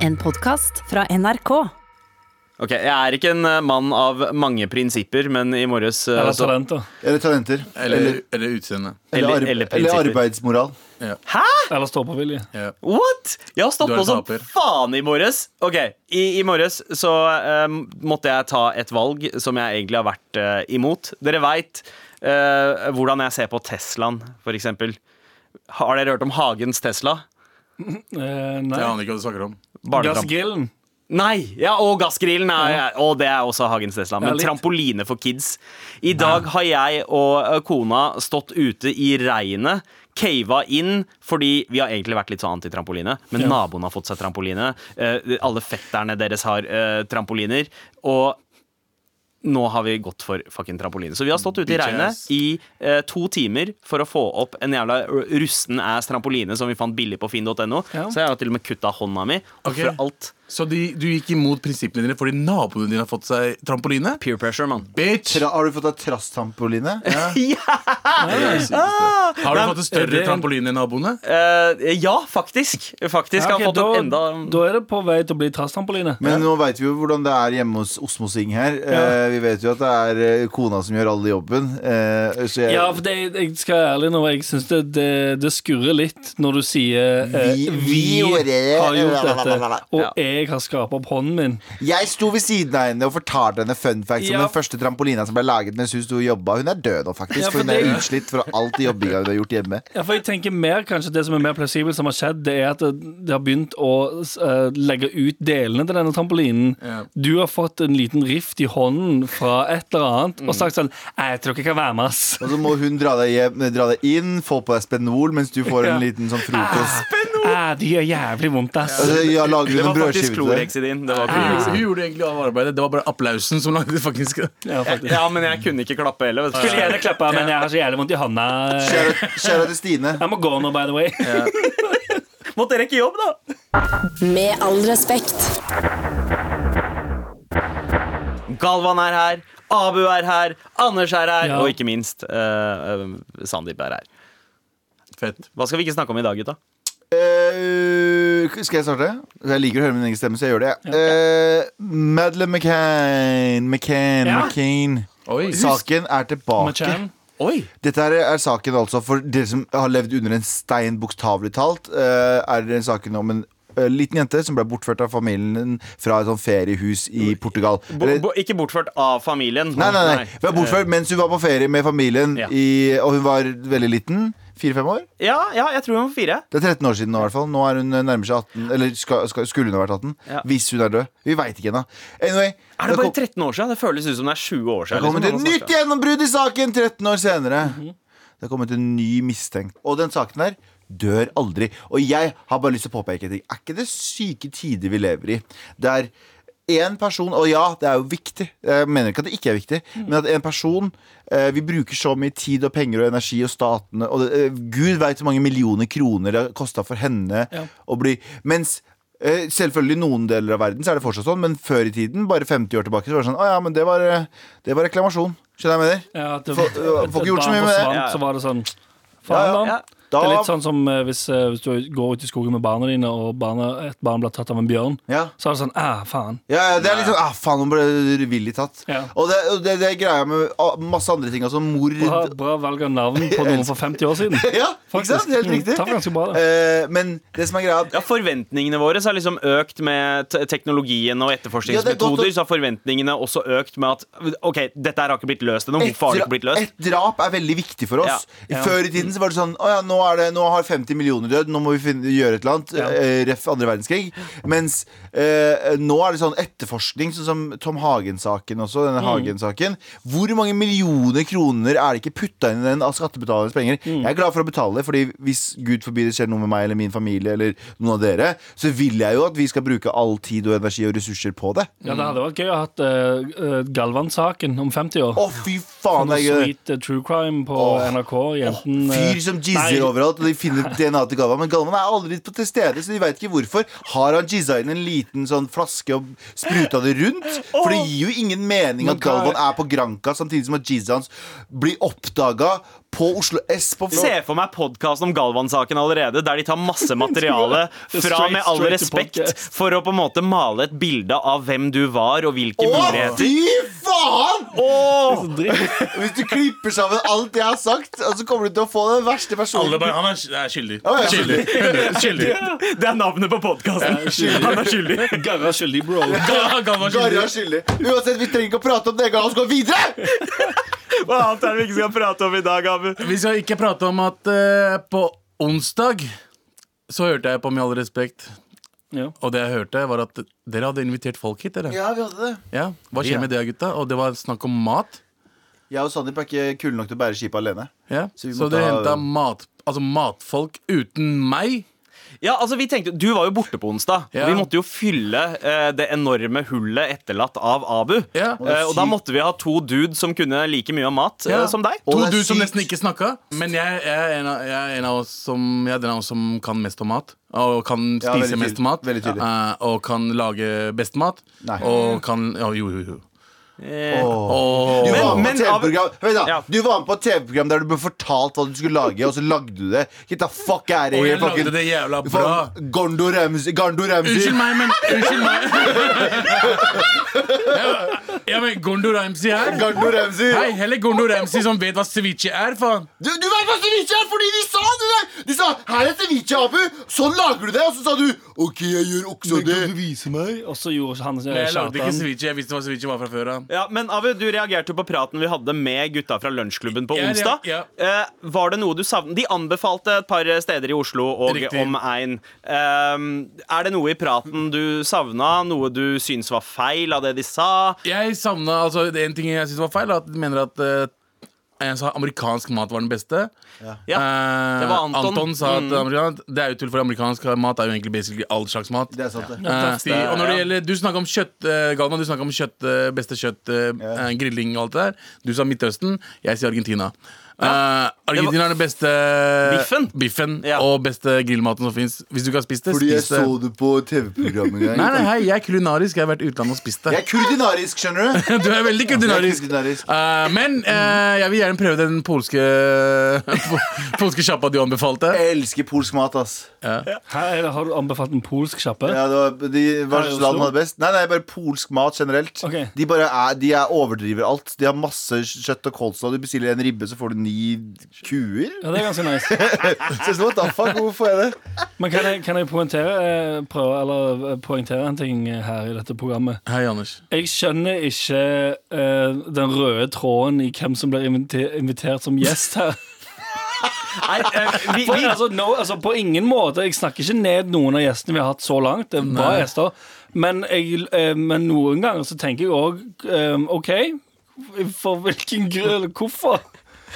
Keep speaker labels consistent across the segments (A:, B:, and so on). A: En podkast fra NRK.
B: Ok, Jeg er ikke en eh, mann av mange prinsipper, men i morges eh,
C: Eller
B: så-
C: talent, da.
D: Eller talenter.
E: Eller, eller utseende.
B: eller,
D: eller,
B: eller
D: arbe- eller
B: prinsipper.
D: arbeidsmoral.
C: Eller ståpåvilje.
E: Ja.
B: What?! Jeg har
E: Du
B: stått
E: er
B: på
E: en
B: som
E: taper.
B: faen i morges. Ok, I, i morges så eh, måtte jeg ta et valg som jeg egentlig har vært eh, imot. Dere veit hvordan jeg ser på Teslaen, for eksempel. Har dere hørt om Hagens Tesla?
C: Eh,
E: Jeg
C: nei.
E: aner ikke hva du snakker om.
B: Barnetramp.
C: Gassgrillen.
B: Nei! Ja, og gassgrillen er, Og det er også Hagens Tesla. Men
C: Ja, litt.
B: trampoline for kids. I dag har jeg og ø, kona stått ute i regnet. Cava inn, fordi vi har egentlig vært litt sånn antitrampoline. Men naboen har fått seg trampoline. eh, alle fetterne deres har eh, trampoliner. Og nå har vi gått for fucking trampoline. Så vi har stått ute i
E: Bitches.
B: regnet i eh, to timer for å få opp en jævla rusten ass trampoline som vi fant billig på finn.no.
C: Ja.
B: Så jeg har til og med kutta hånda mi.
E: Ok.
B: For alt
E: Så de, du gikk imot prinsippene dine fordi naboene dine har fått seg trampoline?
B: peer pressure, mann.
E: Bitch!
D: Tra, har du fått deg trasstrampoline?
E: Har du fått en
C: er det
E: større
C: en-
E: trampoline enn naboene?
B: Eh, ja, faktisk. Faktisk
C: Ja,
B: har
C: ok,
B: jeg fått
C: da,
B: en enda
C: da er det på vei til å bli trasstrampoline.
D: Men nå veit vi jo hvordan det er hjemme hos Osmo Sing her. Eh, vi vet jo at det er eh, kona som gjør all jobben. Eh, så jeg,
C: Ja, for det, jeg skal være ærlig nå. Jeg syns det, det, det skurrer litt når du sier eh,
D: Vi- vi gjorde det.
C: har gjort dette, og
B: Ja.
C: jeg har skrapet opp hånden min.
D: jeg sto ved siden av henne og fortalte henne fun facts
C: Ja.
D: om den første trampolina som ble laget mens hun sto og jobba. Hun er død nå, faktisk,
C: Ja, for
D: for hun er
C: det-
D: utslitt fra all de jobbinga hun har gjort hjemme.
C: Ja, for jeg tenker mer kanskje Det som er mer plausibelt som har skjedd, det er at det, det har begynt å eh, legge ut delene til denne trampolinen.
E: Ja.
C: Du har fått en liten rift i hånden fra et eller annet og sagt sånn «Nei, Jeg tror ikke jeg kan være med, ass.
D: Og så må hun dra deg, hjem, eh, dra deg inn, få på deg Spenol mens du får
C: Ja.
D: en liten sånn frokost.
C: Ah, det gjør jævlig vondt, ass.
D: Altså, ja, lager
B: Det
D: hun en
B: var faktisk
D: brødskive til deg.
B: Klorex i din. Det var Clorox.
E: Hun gjorde egentlig av arbeidet. Det var bare applausen som lagde det faktisk
C: Ja, faktisk.
B: Ja, men jeg kunne ikke klappe heller. Vet
C: Skulle
B: du.
C: gjerne klappa, men jeg har så jævlig vondt i hånda.
D: Kjære kjære til Stine.
C: Jeg må gå nå, by the way.
B: Måtte dere ikke jobbe, da?
A: Med all respekt.
B: Galvan er her. Abu er her. Anders er her.
C: Ja.
B: Og ikke minst eh, eh, Sandeep er her.
E: Fett.
B: Hva skal vi ikke snakke om i dag, gutta?
D: Eh, skal jeg starte? Jeg liker å høre min egen stemme, så jeg gjør det. jeg. Eh, Madeleine McCain, McCain,
C: Ja.
D: McCain.
E: Oi.
D: Saken er tilbake.
C: Machan.
B: Oi!
D: Dette er, er saken altså for dere som har levd under en stein, bokstavelig talt. eh, er det saken om en eh, liten jente som ble bortført av familien fra et sånt feriehus i Portugal.
B: Bo,
D: Eller-
B: bo, ikke bortført av familien.
D: Nei, nei, nei. Hun var bortført mens hun var på ferie med familien,
B: Ja.
D: i, og hun var veldig liten. Fire-fem år?
B: Eh, Ja, ja, jeg tror hun var fire.
D: Det er 13 år siden nå, i hvert fall. Nå er hun eh, nærmer seg 18. Eller skal, skal, skulle hun ha vært 18?
B: Ja.
D: Hvis hun er død. Vi veit ikke ennå. Anyway,
B: Er det
D: kom-
B: bare 13 år siden? Det føles ut som det er 20 år
D: det
B: siden. Mhm.
D: har kommet
B: liksom, han
D: et
B: har
D: nytt
B: snakket.
D: gjennombrudd i saken 13 år senere. Det har kommet en ny mistenkt. Og den saken her dør aldri. Og jeg har bare lyst til å påpeke en ting. Er ikke det syke tider vi lever i? Der en person, og ja, det er jo viktig, jeg mener ikke at det ikke er viktig, men at en person eh, Vi bruker så mye tid og penger og energi og statene og det, eh, Gud veit hvor mange millioner kroner det har kosta for henne
C: Ja.
D: å bli Mens Eh, Selvfølgelig i noen deler av verden så er det fortsatt sånn, men før i tiden, bare 50 år tilbake, så var det sånn Å ja, men det var, eh, det var reklamasjon. Skjønner jeg hva jeg mener?
C: Ja, at det-
D: Få- øh, får ikke gjort så mye med det.
C: forsvant,
B: Ja.
C: Så var det sånn Faen,
D: Ja,
C: da.
D: ja.
C: Det er
D: Da-
C: litt sånn som eh, hvis, eh, hvis du går ut i skogen med barna dine, og barna, et barn blir tatt av en bjørn.
D: Ja.
C: Så er det sånn ah, faen.
D: Ja, ja, det er liksom ah, Faen, nå ble det villig tatt.
C: Ja.
D: Og det, og det, det er greia med ah, masse andre ting, altså mord
C: Bra, bra valg av navn på noen for 50 år siden.
D: Ja, ikke
C: Faktisk.
D: sant? Helt
C: Mm,
D: riktig.
C: traff ganske bra, da.
D: Eh, men det som er greia
B: Ja, Forventningene våre så har liksom økt med te- teknologien og
D: Ja, det er godt
B: etterforskningsmetoder.
D: å-
B: Så har forventningene også økt med at ok, dette her har ikke blitt løst ennå.
D: et,
B: Hvorfor har det
D: dra-
B: ikke blitt løst?
D: et drap er veldig viktig for oss.
C: Ja. Ja.
D: Før i tiden så var det sånn Å ja, nå, er det, nå har 50 millioner dødd, nå må vi finne, gjøre et eller annet.
C: Ja.
D: eh, Ref. andre verdenskrig. Mens eh, nå er det sånn etterforskning, sånn som Tom Hagen-saken også. Denne Hagen-saken. Hvor mange millioner kroner er det ikke putta inn i den av skattebetalernes penger? Jeg er glad for å betale, fordi hvis gud forby det skjer noe med meg eller min familie eller noen av dere, så vil jeg jo at vi skal bruke all tid og energi og ressurser på det.
C: Ja, Det hadde vært gøy å ha hatt eh, eh, Galvan-saken om 50 år.
D: Å, fy faen!
C: Noe
D: det er gøy.
C: sweet eh, true crime på
D: Åh.
C: NRK. Jenten eh,
D: Fyr som jizzer
C: nei,
D: overalt, og de finner DNA til Galvan. Men Galvan er aldri på til stede, så de veit ikke hvorfor. Har han jizza inn en liten sånn flaske og spruta det rundt? For det gir jo ingen mening at Galvan er på Granka samtidig som at jizza hans blir oppdaga på Oslo S. på
B: Se for meg podkasten om Galvan-saken allerede, der de tar masse materiale fra
C: Straight-
B: Med all
C: straight to
B: respekt
C: podcast.
B: for å på en måte male et bilde av hvem du var, og hvilke
D: Å,
B: muligheter.
D: fy faen!
B: Åh!
D: Hvis du klipper sammen alt jeg har sagt, og så kommer du til å få den verste personen.
E: Alle bare, Han er, sk- er skyldig.
D: Å, ja.
E: Skyldig. 100, skyldig.
B: Det er navnet på podkasten. Han er skyldig.
C: Garra skyldig, bro.
E: Ga- Galvan
D: Garra
E: skyldig.
D: er skyldig. Uansett, vi trenger ikke å prate om det. La oss gå videre!
B: Hva annet er det vi ikke skal prate om i dag, Abu?
E: Vi skal ikke prate om at eh, på onsdag så hørte jeg på Med all respekt,
C: Ja.
E: og det jeg hørte, var at dere hadde invitert folk hit, dere. Ja.
D: Ja, vi hadde det.
E: Hva skjer med det, gutta? Og det var snakk om mat.
D: Jeg og Sandeep er ikke kule nok til å bære skipet alene.
E: Ja.
D: Så vi
E: Så,
D: måtte
E: dere
D: ha-
E: henta mat, altså matfolk uten meg.
B: Ja, altså vi tenkte, Du var jo borte på onsdag.
E: Ja.
B: Vi måtte jo fylle eh, det enorme hullet etterlatt av Abu.
E: Ja.
B: Eh, og da måtte vi ha to dudes som kunne like mye av mat eh,
E: Ja.
B: som deg.
D: Og
E: To
D: det er
E: du som
D: sykt.
E: nesten ikke snakka. Men jeg, jeg, er en av, jeg er en av oss som Jeg er den av oss som kan mest om mat. Og kan
D: Ja,
E: spise
D: veldig tydelig.
E: mest mat.
D: Veldig tydelig.
E: eh, og kan lage best mat.
D: Nei.
E: Og kan ja, Jo, jo, jo.
B: Eh,
E: Og,
D: Du
B: Men-
D: var, med
B: men
D: på
B: av-
D: TV-program Vent da,
B: Ja.
D: du var med på et TV-program der du ble fortalt hva du skulle lage, og så lagde du det. Get the fuck out of
E: og
D: here,
E: jeg
D: fucking-
E: lagde det jævla
D: Faen,
E: bra.
D: Gondo Ramsay. Gondo Ramsay.
E: Unnskyld meg, men Unnskyld meg. Ja, ja, men Gondo Ramsay her.
D: Gondo Ramsay.
E: Hei, heller Gondo Ramsay som vet hva ceviche er, faen.
D: Du, du vet hva ceviche er fordi de sa det der! De sa 'her er ceviche, Abu', sånn lager du det. Og så sa du 'OK, jeg gjør også det'.
E: vise meg?
C: Og så gjorde han
E: Jeg lagde ikke
C: Kjartan
E: ceviche. Jeg visste hva ceviche var fra før av.
B: Ja, men Abu, du reagerte jo på praten vi hadde med gutta fra lunsjklubben på
E: Ja, ja,
B: onsdag.
E: ja.
B: Eh, var det noe du savnet? De anbefalte et par steder i Oslo og
E: Riktig.
B: omegn. Eh, er det noe i praten du savna? Noe du syns var feil av det de sa?
E: Jeg savna altså, det er En ting jeg syns var feil, er at de mener at eh, jeg sa amerikansk mat var den beste.
B: Ja,
E: Eh,
B: det var Anton. Mm.
E: sa at amerikansk, Det er jo tull, for amerikansk mat er jo egentlig basically all slags mat.
D: Det er sant, det.
E: Eh, de, og når det
B: ja.
E: gjelder, Du snakka om kjøtt, eh, Galvan. Du snakket om kjøtt, eh, beste kjøtt, eh,
D: Ja.
E: eh, grilling og alt det der. Du sa Midtøsten. Jeg sier Argentina. Eh, Argentina er den beste
B: Biffen? Ja.
E: og beste grillmaten som fins. Hvis du ikke har spist det,
D: Fordi jeg
E: spis det.
D: så det på TV-program en gang.
E: Nei, nei, hei, jeg er kulinarisk. Jeg har vært i utlandet og spist det.
D: Jeg er kurdinarisk, skjønner du.
E: Du er veldig
D: Jeg
E: kulinarisk.
D: er kulinarisk.
E: Eh, men eh, jeg vil gjerne prøve den polske Polske sjappa du anbefalte.
D: Jeg elsker polsk mat, ass.
C: Her er det, Har du anbefalt en polsk kjappe?
D: Ja, det var, de, hva
C: Her i
D: slags
C: Oslo?
D: land hadde best? Nei, nei, bare polsk mat generelt.
C: Ok.
D: De bare er, de er overdriver alt. De har masse kjøtt og coleslaw. Du bestiller en ribbe, så får du ni kuer.
C: Ja, det er ganske nice.
D: Så jeg sånn, what the fuck, hvorfor får jeg det?
C: Men kan jeg, kan jeg poengtere, eh, prøve, eller, eh, poengtere en ting her i dette programmet?
E: Hei, Anders.
C: Jeg skjønner ikke eh, den røde tråden i hvem som blir invite- invitert som gjest her.
B: Nei, eh, vi,
C: For,
B: vi,
C: altså, no, altså, på ingen måte. Jeg snakker ikke ned noen av gjestene vi har hatt så langt. Det er bra gjester. Men, jeg, eh, men noen ganger så tenker jeg òg OK, for hvilken grunn Hvorfor?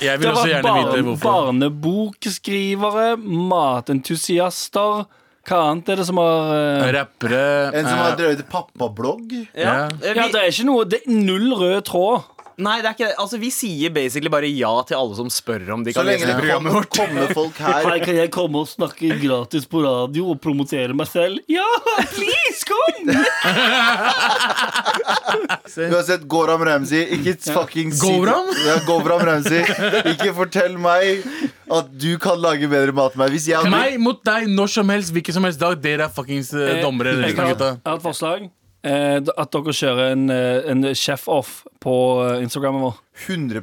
E: Jeg vil også gjerne
C: barn-
E: vite hvorfor.
C: barnebokskrivere, matentusiaster. Hva annet er det som har eh,
E: Rappere
D: En som har
E: eh,
D: drevet pappablogg.
B: ja.
E: Ja.
B: eh,
C: Ja,
B: vi,
C: det er ikke noe Det er null rød tråd.
B: nei, det er ikke det. Altså, vi sier basically bare ja til alle som spør om de
D: Så
B: kan lese
D: lenge det
B: programmet
D: kommer,
B: vårt.
D: kommer folk her
C: kan jeg komme og snakke gratis på radio og promotere meg selv? Ja, please, kom!
D: Uansett, Goram Ramsay, ikke fucking si-
E: Goram?
D: Ja, Goram Ramsay. Ikke fortell meg at du kan lage bedre mat enn meg. Hvis jeg hadde
E: Meg mot deg når som helst, hvilken som helst dag. Dere er fuckings eh, dommere.
C: Jeg
E: resten av
C: har,
E: gutta.
C: jeg har et forslag. Eh, at dere kjører en, eh, en chef-off på eh, Instagrammen vår.
D: 100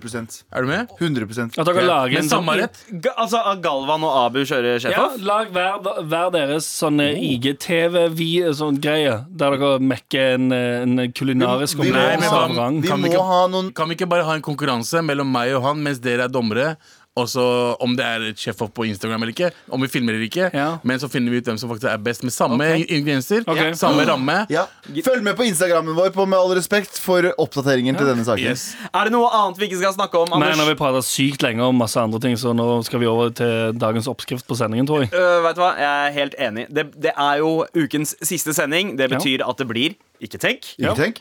E: Er du med?
D: 100
C: At dere lager
E: Med
C: en sånn
E: samme rett.
B: Ga- Altså, Galvan og Abu kjører
C: Ja,
B: sjefa?
C: lag hver, hver deres sånne IGTV-greie, sånn greie, der dere mekker en, eh, en kulinarisk
D: Vi- vi må-
E: Nei, men
C: opplevelse
E: hva-
C: av rang.
D: Vi
E: Kan vi
D: må
E: ikke-
D: ha noen
E: Kan vi ikke bare ha en konkurranse mellom meg og han mens dere er dommere? Og så Om det er et chef opp på Instagram eller ikke, om vi filmer eller ikke.
C: Ja.
E: Men så finner vi ut hvem som faktisk er best, med samme ingredienser,
C: Ok.
E: samme ramme.
D: ja. Følg med på Instagrammen vår på Med all respekt for oppdateringen til denne saken.
E: Yes.
B: Er det noe annet vi ikke skal snakke om?
C: Nei,
B: Anders?
C: nå har vi prata sykt lenge om masse andre ting, så nå skal vi over til dagens oppskrift på sendingen, tror jeg.
B: Øh, vet du hva, Jeg er helt enig. Det, det er jo ukens siste sending. Det betyr at det blir Ikke tenk
D: Ikke tenk.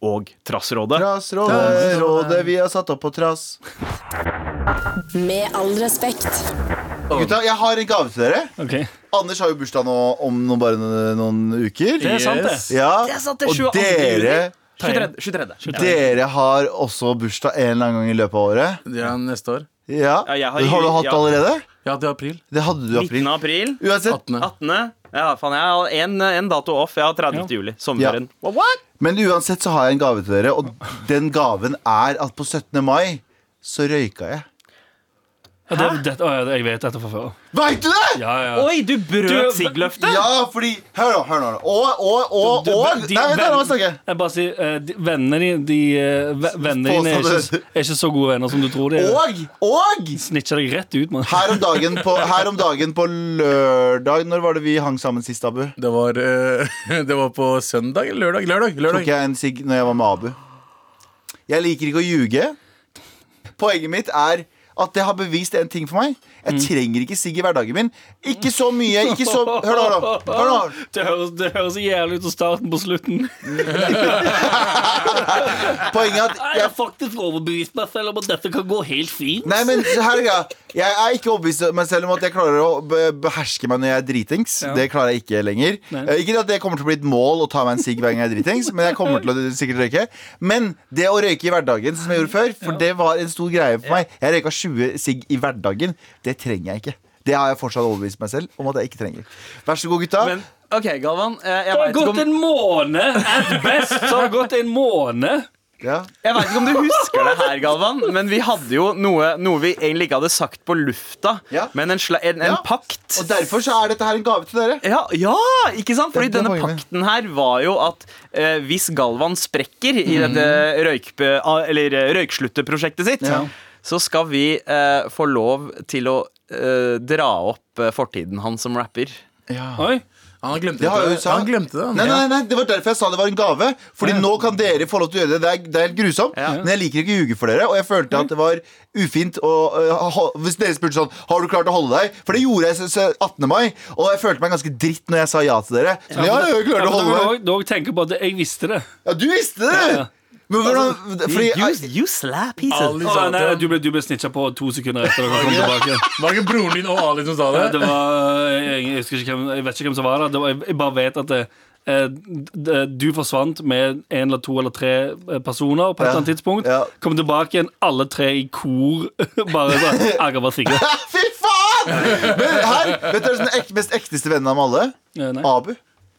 B: og Trassrådet.
D: Trassrådet, rådet vi har satt opp på trass.
A: Med all respekt.
D: Gutta, jeg har en gave til dere.
C: Ok.
D: Anders har jo bursdag nå om noen, bare noen uker.
C: Det er sant, det.
E: Yes.
D: Ja,
B: Det er sant, det er 22.
D: Og dere,
C: Tredje.
B: 23. 23.
D: dere har også bursdag en eller annen gang i løpet av året.
E: Ja, neste år.
D: Ja,
B: Ja, jeg har-
D: har, du hatt
B: ja.
D: det allerede?
E: Ja, til april.
D: Det hadde du i
B: 19.
D: april.
B: april.
D: Uansett,
E: 18.
B: 18. Ja, faen, jeg har en, en dato off. Jeg har 30.
C: Ja.
B: juli. Sommerferien. What?
D: men uansett så har jeg en gave til dere, og den gaven er at på 17. mai så røyka jeg.
C: Ja, det, det, å, ja, jeg vet dette fra før.
D: Veit du det?!
C: Ja, ja.
B: Oi, du brøt
C: Du-
B: siggløftet!
D: Ja, fordi Hør nå, hør nå. Og, og, og,
C: Du-
D: og
C: de-
D: Nei, vent, la meg snakke.
C: Jeg bare sier, eh, de- Vennene dine de, eh, ve- vennene dine er, ikke- er ikke så gode venner som du tror de er.
D: Og, og
C: Snitcher deg rett ut, mann.
D: her om, dagen på, her om dagen på lørdag Når var det vi hang sammen sist, Abu?
E: Det var, eh, det var på søndag eller lørdag? Lørdag. lørdag.
D: Tok jeg en sigg når jeg var med Abu. Jeg liker ikke å ljuge. Poenget mitt er at det har bevist en ting for meg.
C: Mm.
D: Jeg trenger ikke sigg i hverdagen min. Ikke så mye. ikke så... Hør nå, hør nå. Hør nå.
C: Det høres, det høres jævlig ut som starten på slutten.
D: Poenget er at jeg
C: faktisk overbevist meg selv om at dette kan gå helt fint.
D: Nei, men så her er greia. Jeg er ikke overbevist om meg selv om at jeg klarer å be- beherske meg når jeg er dritings.
C: Ja.
D: Det klarer jeg ikke lenger.
C: Nei.
D: Eh, Ikke at det kommer til å bli et mål å ta meg en sigg hver gang jeg er dritings, men jeg kommer til å sikkert røyke. Men det å røyke i hverdagen, som jeg gjorde før, for det var en stor greie for meg. Jeg røyka 20 sigg i hverdagen. Det trenger jeg ikke. Det har jeg fortsatt overbevist meg selv om at jeg ikke trenger. Vær så god, gutta.
B: Men OK, Galvan. eh, Jeg
C: Det har
B: veit ikke,
C: gått
B: om-
C: en måned! At best så har det gått en måned.
D: Ja.
B: jeg vet ikke om du husker det her, Galvan, men vi hadde jo noe, noe vi egentlig ikke hadde sagt på lufta,
D: Ja.
B: men en, sla, en, en
D: Ja.
B: pakt.
D: Og derfor så er dette her en gave til dere.
B: Ja, ja, ikke sant? Fordi
D: Det er
B: denne
D: poenget.
B: pakten her var jo at eh, hvis Galvan sprekker i dette røykbe, ah, eller, eh, røykslutteprosjektet sitt,
D: Ja.
B: så skal vi eh, få lov til å eh, dra opp eh, fortiden hans som rapper.
C: Oi.
E: Han glemte
D: Det
E: det.
D: har jeg jo sagt.
E: han glemte det. han.
D: Nei, nei, nei, det var derfor jeg sa det var en gave. Fordi nå kan dere få lov til å gjøre det. Det er, det er helt grusomt.
B: Ja.
D: Men jeg liker ikke å ljuge for dere, og jeg følte at det var ufint å øh, ha- Hvis dere spurte sånn Har du klart å holde deg? For det gjorde jeg s- s- 18. mai, og jeg følte meg ganske dritt når jeg sa ja til dere. Sånn, ja, jeg
C: Ja, men
D: klarte å
C: da kan
D: holde meg
C: jeg dog tenke på at jeg visste det.
D: Ja, du visste det!
C: ja.
D: Men hvordan Fordi
B: you, you slap, he said.
E: Ali
C: Å,
E: sa
C: nei,
E: det.
C: eh, du ble, du ble snitcha på to sekunder etter at dere kom tilbake.
E: Var det ikke broren din og Ali som sa det?
C: Ja, Det var, eh, jeg, jeg, husker ikke hvem, jeg vet ikke hvem som var der. Det var, jeg, jeg bare vet at det, eh, d- du forsvant med en eller to eller tre eh, personer på et
D: Ja,
C: eller annet tidspunkt.
D: ja.
C: Kom tilbake igjen, alle tre i kor. Bare sånn Aga var sikker.
D: Fy faen! Men her, vet dere den ek, mest ekteste vennen av dem alle?
C: Ja, nei.
D: Abu.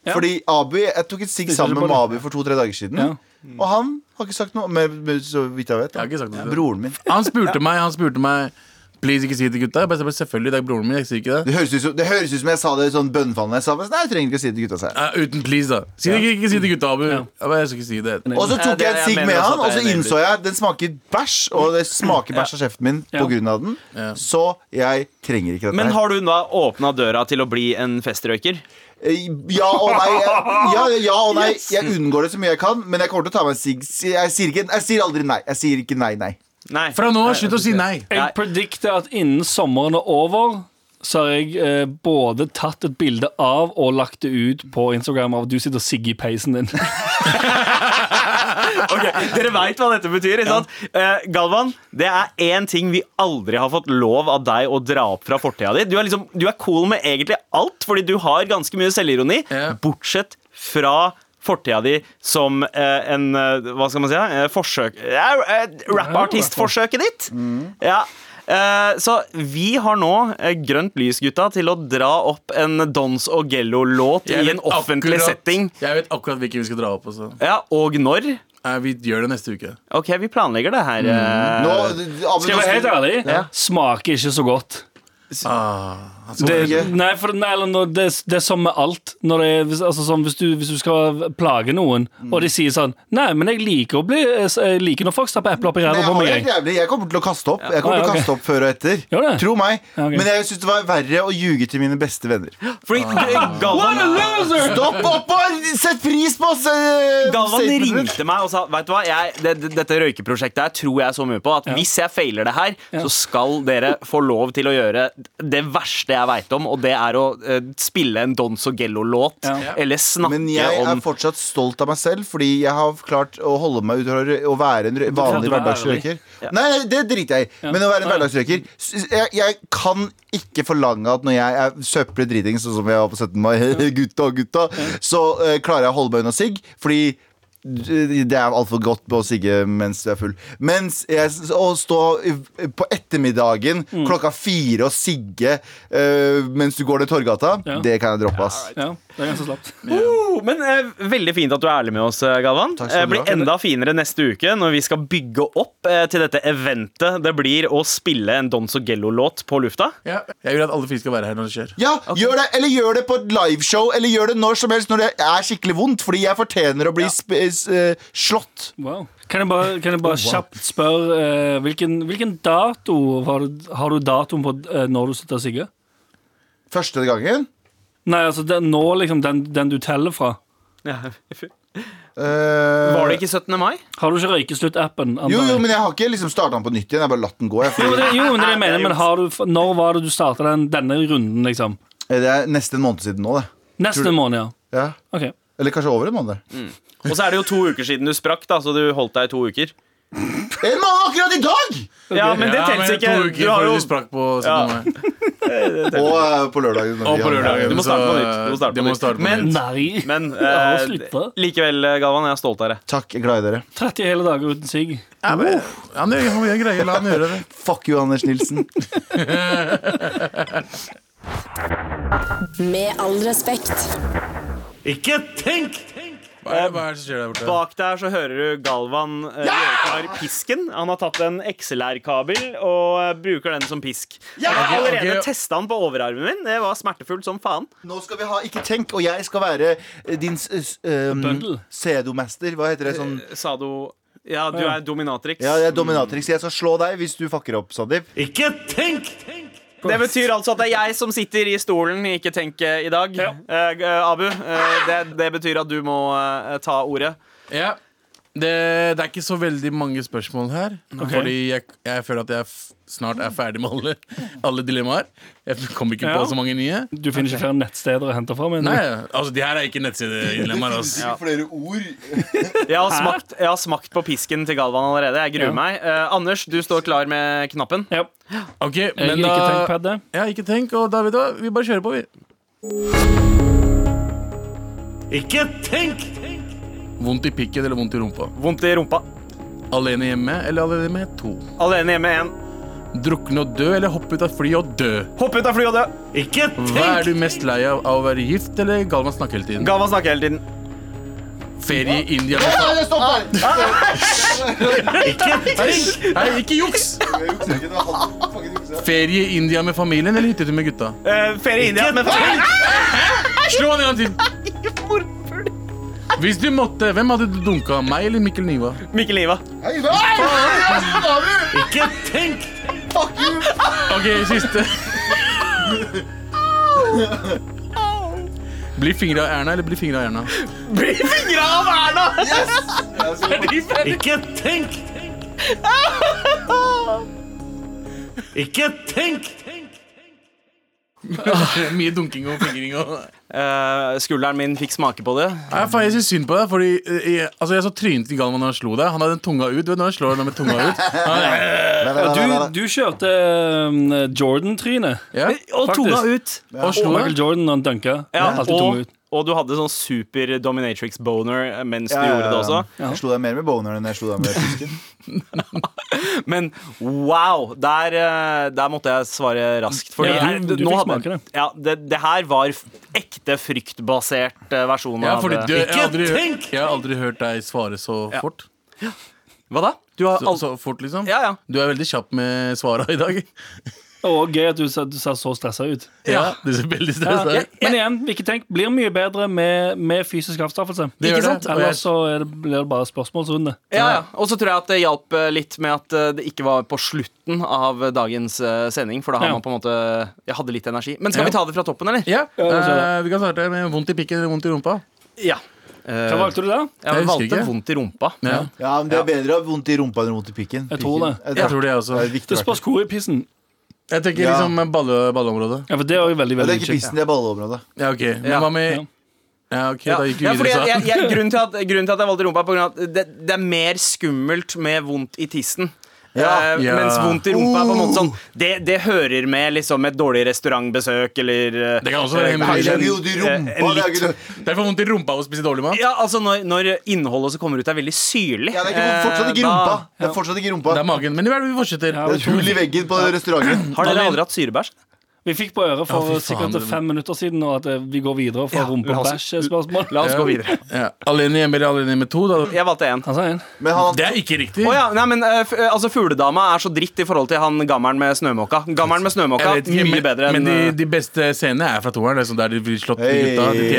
C: Ja.
D: Fordi Abu, Jeg tok et sigg
C: Stikker
D: sammen
C: seg på
D: med
C: det.
D: Abu for to-tre dager siden.
C: Ja.
D: Og han har ikke sagt noe. Men, men, så vidt jeg vet. da.
E: Jeg har ikke sagt noe til det.
D: Broren min.
E: Han spurte meg, han spurte meg Please, ikke si det til gutta. Jeg bare sa bare, selvfølgelig, det er broren min. jeg sier ikke det
D: Det høres, ut som, det høres ut som jeg sa det sånn bønnfallende. Jeg sa bare, nei, jeg trenger ikke å si det til gutta seg.
E: Eh, Uten please, da. Si det, ikke, ikke si det til gutta, Abu.
C: Ja.
E: Jeg bare, jeg skal ikke si det.
D: Og så
B: Ja,
D: tok
B: det-
D: jeg en
B: jeg
D: sigg
B: mener
D: med
B: også at
D: han, og
B: det
D: så
B: er en
D: innså jeg den smaker bæsj. Og det smaker bæsj av kjeften min
C: Ja.
D: på grunn av den.
E: Ja.
D: Så jeg trenger ikke dette
B: Men
D: her.
B: har du da åpna døra til å bli en festrøyker?
D: Eh, Ja og nei. jeg- Ja, ja og nei. Jeg unngår det så mye jeg kan, men jeg kommer til å ta meg en sigg. Jeg sier, ikke, jeg sier aldri nei. Jeg sier ikke nei, nei.
B: Nei.
E: Fra nå av, slutt å si
B: Nei.
E: nei.
C: Jeg predikter at innen sommeren er over så har jeg eh, både tatt et bilde av og lagt det ut på Instagram av at du sitter og sigger i peisen din.
B: Ok, Dere veit hva dette betyr. ikke sant? Eh, Galvan, det er én ting vi aldri har fått lov av deg å dra opp fra fortida di. Du er, liksom, du er cool med egentlig alt, fordi du har ganske mye selvironi.
E: Ja.
B: Bortsett fra fortida di som eh, en eh, Hva skal man si? eh, forsøk ja, eh, Rappartistforsøket ditt. Ja. Eh, så vi har nå eh, grønt lys, gutta, til å dra opp en Dons og Gello-låt i
E: Jeg
B: en
E: vet
B: offentlig
E: akkurat-
B: setting.
E: Jeg vet akkurat hvilken vi skal dra opp. Også.
B: Ja, Og når?
E: Eh, Vi gjør det neste uke.
B: Ok, vi planlegger det her. eh,
D: Mm. Nå, Abu,
C: Skal jeg være helt ærlig?
D: Ja.
C: Smaker ikke så godt.
E: Ah, han skal-
C: Det,
D: ikke?
C: nei, for, nei, eller når- det, det er som med alt. Når det, er- hvis- altså, sånn, hvis, du, hvis du skal plage noen, og de sier sånn Nei, men jeg liker, å bli, eh, jeg liker når folk stapper epler opp i
D: Nei,
C: ræva
D: jeg,
C: på
D: har
C: meg.
D: det helt
C: jeg.
D: jævlig. jeg kommer til å kaste opp Jeg kommer
C: Ah, ja,
D: til å
C: ok.
D: kaste opp før og etter.
C: Gjør det?
D: Tro meg.
C: Ja, ok.
D: Men jeg syns det var verre å ljuge til mine beste venner.
B: Fordi Galvan,
D: Stopp opp og sett pris på oss! eh,
B: Galvan
D: statementet ditt.
B: ringte meg og sa Vet du hva, jeg, det, det- dette røykeprosjektet her tror jeg så mye på at hvis jeg feiler det her, så skal dere få lov til å gjøre det verste jeg veit om, og det er å eh, spille en Don Sogello-låt.
C: Ja.
B: Eller snakke
D: Men jeg
B: om
D: er fortsatt stolt av meg selv, fordi jeg har klart å holde meg ut av å rø- å være en rø- vanlig
C: du er
D: hverdagsrøyker. Nei, nei, det driter jeg i. Men å være en hverdagsrøyker s- jeg, jeg kan ikke forlange at når jeg er søppel driting, sånn som jeg var på 17. mai, gutta, gutta, så eh, klarer jeg å holde meg unna sigg, fordi d- det er altfor godt på å sigge mens du er full. Mens jeg, s- å stå i- på ettermiddagen klokka fire og sigge eh, mens du går ned Torgata,
C: Ja.
D: det kan jeg droppe, ass.
C: Ja, det er ganske slapt.
B: Oh, men eh, Veldig fint at du er ærlig med oss, eh, Galvan.
D: Takk skal
B: Eh,
D: du
B: blir
D: ha.
B: enda finere neste uke når vi skal bygge opp eh, til dette eventet det blir å spille en Don Sogello-låt på lufta.
E: Ja. Jeg vil at alle fire skal være her når det skjer.
D: Ja, gjør det, eller gjør det på et liveshow, eller gjør det når som helst når det er skikkelig vondt, fordi jeg fortjener å bli sp s eh, slått.
C: Wow. Kan jeg bare, kan jeg bare kjapt spørre eh, hvilken, hvilken dato har du, har du datoen på eh, når du slutter å sigge?
D: Første gangen.
C: Nei, altså den, nå liksom den, den du teller fra.
D: Eh,
B: Var det ikke 17. mai?
C: Har du ikke røykeslutt-appen? antar
D: jo, jo,
C: jeg?
D: men jeg har ikke liksom starta den på nytt igjen. Jeg har bare latt den gå. Jeg,
C: Jo, men
D: fordi,
C: det, jo, men det er det jeg mener, men har du, når var det du starta den, denne runden, liksom?
D: Eh, det er nesten en måned siden nå, det.
C: Neste måned, ja.
D: Ja.
C: Ok.
D: Eller kanskje over en måned.
B: Og så er det jo to uker siden du sprakk, da, så du holdt deg i to uker.
D: En måned akkurat i dag!
B: Ja, men det
E: Ja,
B: telles ikke.
E: To
B: Du,
E: uker
B: har
E: før
B: jo,
E: du sprakk på 17.
B: Ja.
E: mai.
D: Og eh, på lørdagen. når
E: Og
D: vi
E: på
D: har-
E: lørdagen.
B: du må starte på
E: så,
B: nytt. Du må starte
E: du
B: på
E: må
B: nytt.
E: starte på
B: Men-
E: nytt.
C: Nei!
B: men
C: jeg har
B: eh,
C: sluttet.
B: likevel, eh, Galvan, jeg er stolt av deg.
D: Takk, jeg er glad i dere.
C: 30 hele dager uten sigg.
E: Ja, men, han gjør han gjør greier. La han gjøre det.
D: Fuck you, Anders Nilsen.
A: Med all respekt.
F: Ikke tenk!
E: Hva er, hva er det som skjer der borte?
B: Bak der så hører du Galvan eh, gjøre klar pisken. Han har tatt en XLR-kabel og eh, bruker den som pisk. Jeg har
E: Ok,
B: allerede
E: ok.
B: testet testa den på overarmen min. Det var smertefullt som faen.
D: Nå skal vi ha Ikke tenk, og jeg skal være eh, din s- s- um,
C: Bøndel.
D: sedomester. Hva heter det? Sånn
E: Eh,
B: Sa du Ja, du er dominatrix.
D: Ja, jeg er dominatrix. Jeg skal slå deg hvis du fucker opp, Sandeep.
F: Ikke tenk!
B: Det betyr altså at det er jeg som sitter i stolen i Ikke tenk eh, i dag. Eh, g- eh, Abu, eh, det, det betyr at du må eh, ta ordet.
E: Ja. Det, det er ikke så veldig mange spørsmål her. Fordi jeg, jeg føler at jeg f snart er ferdig med alle, alle dilemmaer. Jeg kommer ikke
C: Ja.
E: på så mange nye.
B: Mm.
C: Du finner ikke flere nettsteder å hente fra, men
E: Nei, altså De her er ikke nettsidedilemmaer. Altså.
D: Flere ord.
B: Jeg har, smakt, jeg har smakt på pisken til Galvan allerede. Jeg gruer
C: Ja.
B: meg. Eh, Anders, du står klar med knappen.
C: ja.
E: Ok,
B: Eh,
C: Jeg
E: men
C: liker
E: da
C: tenkpadet.
E: Ja, ikke tenk. Og da vet du hva, vi bare kjører på, vi.
F: Ikke tenk!
E: Vondt i pikken eller vondt i rumpa?
B: Vondt i rumpa.
E: Alene hjemme eller alene med to?
B: Alene hjemme igjen.
E: Drukne og dø eller hoppe ut av fly og dø?
B: Hopp ut av flyet og dø.
F: Ikke
E: Hva er
F: tenk!
E: du mest lei av? Av å være gift eller Galvan snakke hele tiden?
B: Galvan snakker hele tiden.
E: Ferie i India med fa-
D: Stopp der!
F: Ikke
E: er
F: tenk!
E: Nei, ikke juks!
D: Jeg jukser ikke, det var han som fucking juksa.
E: Ferie i India med familien eller hyttetur med gutta?
B: Eh, ferie i India. Men
E: Slå han en gang til. Hvis du måtte, hvem hadde du dunka? Meg eller Mikkel Niva?
B: Mikkel Niva.
D: Hei, hva er det? Abu,
F: Ikke tenk!
D: Fuck you!
E: Ok, siste. Bli fingra av Erna eller bli fingra av Erna?
B: Bli fingra av Erna!
F: Ikke tenk!
E: er
F: Ikke tenk!
E: Mye dunking og fingring og
B: Eh, skulderen min fikk smake på det.
E: Nei, faen, Jeg syns synd på deg, fordi eh, jeg, altså, jeg så trynet til Galvan da han slo deg. Han hadde tunga ut. Du vet når han slår noe med tunga ut? Han,
C: Du, du kjørte eh, Jordan-tryne.
E: ja.
B: Og
C: Faktisk.
B: tunga ut.
E: Og slo
C: Michael
E: deg.
C: Jordan når han dunka.
B: Ja,
C: Alltid
B: og,
C: tunge ut.
B: og du hadde sånn super dominatrix boner mens du gjorde det også.
D: Jeg slo deg mer med boner enn jeg slo deg med fisken.
B: Men wow! Der, eh, der måtte jeg svare raskt. Fordi
C: Ja,
B: her,
C: du- du
B: nå
C: fikk
B: hadde-
C: smake det.
B: Ja, det, det her var f- ekte fryktbasert eh, versjon
E: Ja,
B: av
E: fordi
B: det.
E: du, jeg, har aldri,
F: Ikke tenk!
E: jeg har aldri hørt deg svare så
B: Ja.
E: fort.
B: Hva da? Du har
E: Så,
B: al-
E: så fort, liksom.
B: Ja, ja.
E: Du er veldig kjapp med svara i dag.
C: Og gøy at du sa, du sa så stressa ut.
E: Ja, Du ser veldig stressa
C: Ja.
E: ut.
C: Men igjen, ikke tenk, blir mye bedre med, med fysisk avstraffelse.
E: Det gjør
C: Ikke
E: det.
C: sant?
E: Og jeg-
C: Ellers så er det, blir det bare spørsmålsrunde.
B: ja, ja. Og så tror jeg at det hjalp eh, litt med at eh, det ikke var på slutten av dagens eh, sending, for da har
C: Ja.
B: man på en måte Jeg hadde litt energi. Men skal
E: Ja.
B: vi ta det fra toppen, eller?
E: Ja,
C: Ja, det ser jeg.
E: eh, Vi kan starte med vondt i pikken eller vondt i rumpa.
B: Ja.
C: Hva valgte du da?
B: Eh, Jeg
E: Jeg husker
B: valgte
E: ikke.
B: vondt i rumpa.
E: Ja.
D: Ja, men Det er bedre å ha vondt i rumpa enn vondt i pikken.
C: Jeg tror det.
D: Pikken.
E: Jeg tror det
D: Det
E: også.
D: er et
C: Det
D: viktig
C: spørs hvor i pissen.
E: Jeg tenker
D: Ja.
E: liksom balle, balleområdet.
C: Ja, for det er også veldig,
D: Ja,
C: veldig
D: det er ikke
C: kjekt.
D: pissen, det er balleområdet.
E: Ja, ok. Men
B: Ja.
E: hva med
C: Ja.
E: Ja, ok,
B: Ja.
E: da gikk
B: Ja,
E: vi
B: fordi
E: videre.
B: jeg,
E: så.
B: jeg, grunnen, til at, grunnen til at jeg valgte rumpa, er på grunn av at det, det er mer skummelt med vondt i tissen.
D: Ja.
B: Eh,
E: Ja. Oh.
B: Mens vondt i rumpa er på en måte sånn Det, det hører med liksom et dårlig restaurantbesøk eller eh,
E: Det kan også være
B: eh,
E: hemorrhoider.
B: kanskje en-
D: Jo, de rumpa,
B: eh, en
D: det er
B: litt-
D: ikke det.
E: Det er for vondt i rumpa av å spise dårlig mat.
B: Ja, altså når, når innholdet som kommer ut, er veldig syrlig.
D: Ja, det er ikke, fortsatt
B: eh,
D: ikke
B: da-
D: rumpa. Det er fortsatt ikke rumpa.
E: Det er magen. Men i hvert fall, vi fortsetter.
C: Ja.
D: Det er et hull i veggen på restauranten.
B: Har dere
E: Malin.
B: aldri hatt syrebæsj?
C: Vi fikk på øret for
E: Ja, fy faen,
C: sikkert
E: det-
C: fem minutter siden nå at eh, vi går videre fra
B: Ja,
C: rumpe-
B: la
C: og
B: oss-
C: bæsj-spørsmål.
B: La oss gå videre.
E: Ja. Alene hjemme eller alene hjemme to? Da.
B: Jeg valgte én.
C: Han sa en.
D: Men han,
E: Det er ikke riktig.
B: Å ja, nei, men eh, f eh, altså, Fugledama er så dritt i forhold til han gammeren med snømåka. Gammeren med snømåka,
E: Jeg vet ikke,
B: mye
E: men,
B: bedre enn
E: men de,
B: eh,
E: de beste scenene er fra toeren. Det er sånn der de blir slått
D: hei,
E: i gutta. De,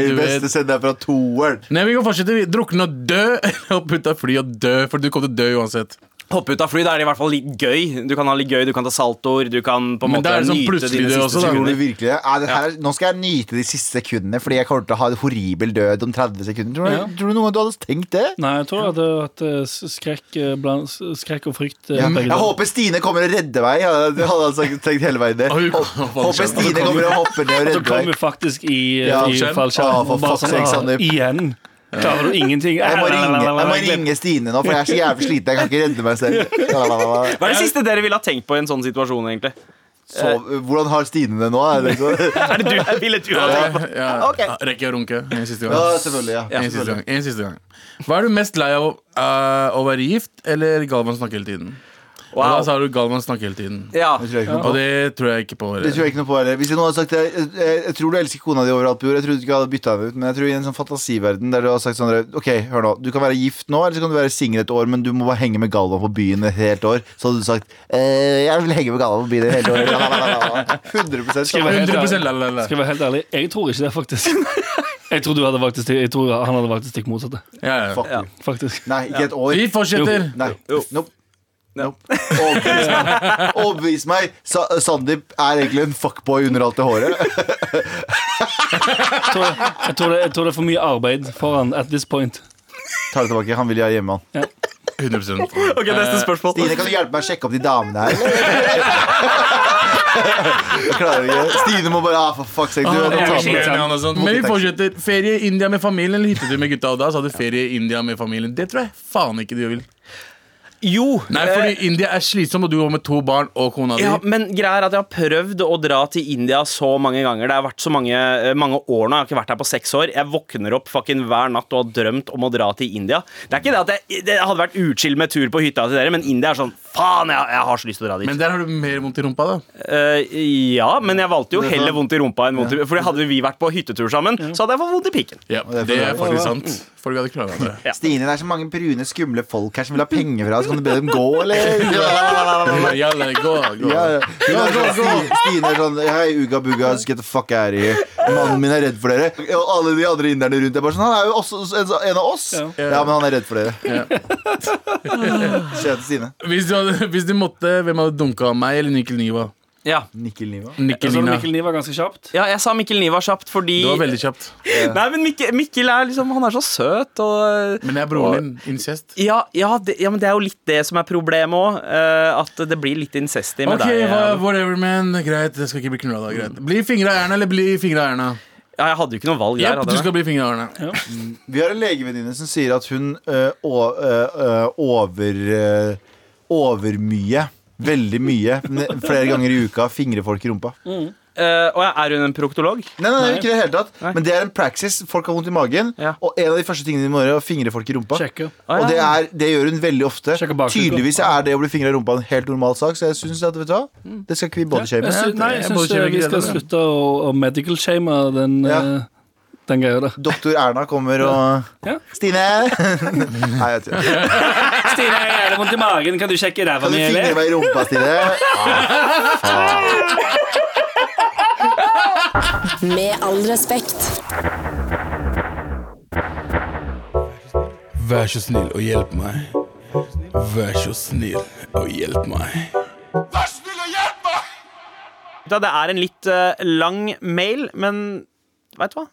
D: hei,
E: du vet.
D: beste send er fra toeren.
E: Nei, vi kan fortsette. Vi Drukne og dø. Eller hoppe ut av fly og dø. For du kommer til å dø uansett.
B: Hoppe ut av fly, da er det i hvert fall litt gøy. Du kan ha litt gøy, du kan ta saltoer, du kan på en
E: Men
B: måte
E: da er det sånn
B: nyte
E: plutselig
B: dine
E: det
B: siste
E: også, da.
D: Tror du
B: sekunder.
D: virkelig det? Er det her, nå skal jeg nyte de siste sekundene, fordi jeg kommer til å ha en horribel død om 30 sekunder. Tror du,
C: Ja.
D: tror du noen gang du hadde tenkt det?
C: Nei, jeg tror jeg hadde hatt eh, s- skrekk, eh, blant, s- skrekk og frykt. eh,
D: Ja,
C: begge
D: Mm. jeg
C: deler.
D: håper Stine kommer og redder meg. Ja, Det hadde han sagt- tenkt hele veien. Det.
E: Oi,
D: Hå- Håper Stine kommer og hopper ned og
C: Så kom vi
D: redder meg.
C: faktisk i,
D: Ja,
C: i
D: fallskjerm. Å,
C: fallskjerm.
D: for
C: og bare
D: fuck's sake,
C: ah,
D: Sandeep.
C: igjen. Klarer du ingenting?
D: Jeg må, ringe, jeg må ringe Stine nå, for jeg er så jævlig sliten. Jeg kan ikke redde meg selv.
B: Hva er det siste dere ville ha tenkt på i en sånn situasjon, egentlig?
D: Så, hvordan har Stine det nå? Er det liksom?
B: Er det du, ville du ha tenkt på?
E: Ja.
D: Ok.
E: Rekker jeg å runke en siste gang?
D: Ja, selvfølgelig. Ja.
E: En siste gang. En siste gang. Hva er du mest lei av? eh, å være gift eller Galvan snakke hele tiden? Og da
B: Wow.
E: sa du Galvan snakke hele tiden.
B: Ja.
D: Det tror jeg ikke noe på.
E: Og det tror jeg ikke på.
D: Det tror jeg ikke noe på heller. Hvis noen hadde sagt jeg, jeg, jeg tror du elsker kona di overalt på jord, jeg trodde du ikke hadde bytta henne ut, men jeg tror i en sånn fantasiverden der du har sagt sånn der, OK, hør nå, du kan være gift nå, eller så kan du være singel et år, men du må bare henge med Galvan på byen et helt år, så hadde du sagt eh, jeg vil henge med Galvan på byen et helt år. 100
C: Skal jeg være helt
E: 100%
C: ærlig?
E: la, la, la.
C: Skal jeg være helt ærlig? Jeg tror ikke det, faktisk. Jeg tror, du hadde faktisk, jeg tror han hadde valgt det stikk motsatte.
E: Ja, ja.
D: Fuck
B: Ja.
D: you.
C: Faktisk.
D: Nei, ikke et år.
E: Vi fortsetter.
D: Nei.
B: Jo.
D: Nope. Nope. Overbevis meg. Overbevis meg. Sa Sandeep er egentlig en fuckboy under alt det håret.
C: Jeg tror, jeg, tror det, jeg tror det er for mye arbeid for han at this point.
D: Tar det tilbake. Han vil jeg hjemme, han.
E: 100
B: Ok, neste spørsmål.
D: Stine, kan du hjelpe meg å sjekke opp de damene her? Jeg klarer ikke. Stine må bare ah, for fuck seg. Du,
C: Ah, jeg
D: jeg må ta
C: er
D: på meg.
C: sliten.
B: sånn.
E: Men vi fortsetter. Ferie i India med familien eller hyttetur med gutta? Og da sa du ferie i India med familien. Det tror jeg faen ikke du vil.
B: Jo.
E: Nei,
B: eh,
E: fordi India er slitsom, og du går med to barn og kona di.
B: Ja, men greia er at jeg har prøvd å dra til India så mange ganger. Det har vært så mange, eh, mange år nå. Jeg har ikke vært her på seks år. Jeg våkner opp fucking hver natt og har drømt om å dra til India. Det er ikke det at jeg, det hadde vært utskill med tur på hytta til dere, men India er sånn faen, jeg, jeg har så lyst til å dra dit.
E: Men der har du mer vondt i rumpa, da.
B: Eh, ja, men jeg valgte jo heller vondt i rumpa enn vondt i Fordi hadde vi vært på hyttetur sammen, så hadde jeg fått vondt i pikken.
E: Ja,
D: det er
E: det
D: for-
E: er faktisk sant. Folk hadde klaga det.
D: Stine, det er så mange brune, skumle folk her som vil ha penger fra oss. Kan du be dem gå, eller?
E: Jalla, gå, gå.
D: Ja, ja. Hun er sånn, Sti- Stine er sånn Hei, uga buga, let's get the fuck out of here. Mannen min er redd for dere. Og alle de andre inderne rundt er bare sånn Han er jo også en, en av oss.
C: Ja.
D: Ja, men han er redd for dere. Kjente Stine.
E: Hvis du, hadde, hvis du måtte, hvem hadde dunka? Meg eller Nikkel Niva?
B: Ja.
D: Nikkel Niva.
C: Jeg
E: Nikkel
C: så
E: Nina.
C: Mikkel Niva ganske kjapt.
B: ja, jeg sa Mikkel Niva kjapt fordi
E: Det var veldig kjapt.
B: Nei, men Mikkel, Mikkel er liksom Han er så søt og eh,
E: Men jeg er broren din. Incest.
B: ja, ja, det, ja, men det er jo litt det som er problemet òg. at det blir litt incesty med
E: Ok,
B: deg.
E: hva-
B: Adam.
E: whatever, man. Greit, jeg skal ikke bli knulla da. Greit. Bli fingra av Erna, eller bli fingra av Erna?
B: Ja, jeg hadde jo ikke noe valg der.
E: Ja,
B: Hadde
E: du
B: jeg
E: skal bli fingra av Erna.
D: Vi har en legevenninne som sier at hun øh, å- øh, øh, over øh, overmye, veldig mye, ne- flere ganger i uka fingrer folk i rumpa. Nei,
B: det. Eh, og jeg er hun en proktolog?
D: nei, nei, ikke det i det hele tatt.
B: Nei.
D: Men det er en praxis. Folk har vondt i magen,
B: Ja.
D: og en av de første tingene de må gjøre, er å fingre folk i rumpa.
C: Sjekker.
B: Ah,
D: Og det,
B: ja.
D: er, det gjør hun veldig ofte.
C: Sjekker bakfra.
D: Tydeligvis er det å bli fingra i rumpa en helt normal sak, så jeg syns at vet du hva,
B: Mm.
D: det skal ikke vi
C: Jeg
D: bodyshames.
C: sy- nei, jeg
E: Jeg
C: syns
E: bare kjører
C: vi
E: ikke
C: skal
E: det, men-
C: slutte å, å medical-shame den,
D: Ja.
C: eh, den greia der.
D: Doktor Erna kommer og
C: Ja.
D: Stine! Nei, jeg vet ikke.
C: Stine, jeg har vondt i magen. Kan du sjekke ræva
D: Kan du fingre meg i rumpa, Stine?
A: Med all respekt.
E: Vær så snill og hjelp meg. Vær så snill og hjelp meg.
B: Da, Det er en litt eh, lang mail, men veit du hva?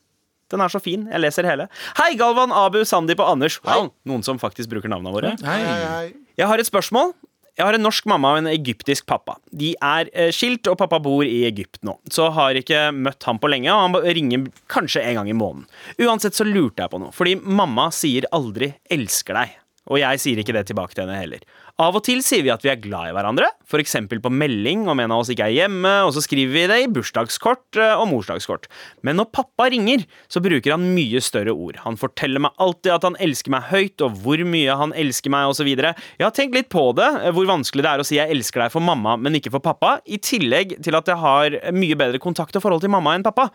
B: Den er så fin. Jeg leser hele. Hei, Galvan, Abu, Sandeep og Anders. Wow, noen som faktisk bruker navnene våre.
E: Hei.
D: Hei, hei.
B: Jeg har et spørsmål. Jeg har en norsk mamma og en egyptisk pappa. De er eh, skilt, og pappa bor i Egypt nå. Så har ikke møtt ham på lenge, og han ba- ringer kanskje en gang i måneden. Uansett så lurte jeg på noe, fordi mamma sier aldri 'elsker deg'. Og jeg sier ikke det tilbake til henne heller. Av og til sier vi at vi er glad i hverandre, f.eks. på melding om en av oss ikke er hjemme, og så skriver vi det i bursdagskort eh, og morsdagskort. Men når pappa ringer, så bruker han mye større ord. Han forteller meg alltid at han elsker meg høyt, og hvor mye han elsker meg, osv. Jeg har tenkt litt på det, eh, hvor vanskelig det er å si jeg elsker deg for mamma, men ikke for pappa, i tillegg til at jeg har mye bedre kontakt og forhold til mamma enn pappa.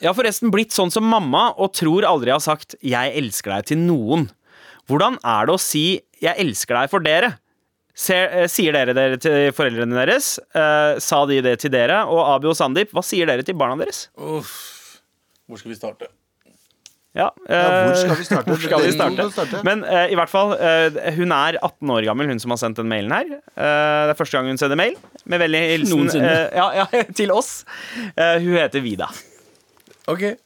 B: Jeg har forresten blitt sånn som mamma og tror aldri jeg har sagt 'jeg elsker deg' til noen. Hvordan er det å si 'jeg elsker deg' for dere? Ser, eh, sier dere det til foreldrene deres? Eh, sa de det til dere? Og Abi og Sandeep, hva sier dere til barna deres?
E: Uff. Hvor skal vi starte?
B: Ja,
D: Ja, hvor
B: eh,
D: skal vi starte?
B: skal vi
D: Dere to
B: starte?
D: kan starte.
B: Men eh, i hvert fall, eh, hun er 18 år gammel, hun som har sendt den mailen her. Eh, det er første gang hun sender mail. Med veldig hilsen
C: Noensinne.
B: eh, ja, ja, til oss. Eh, hun heter Vida.
E: Ok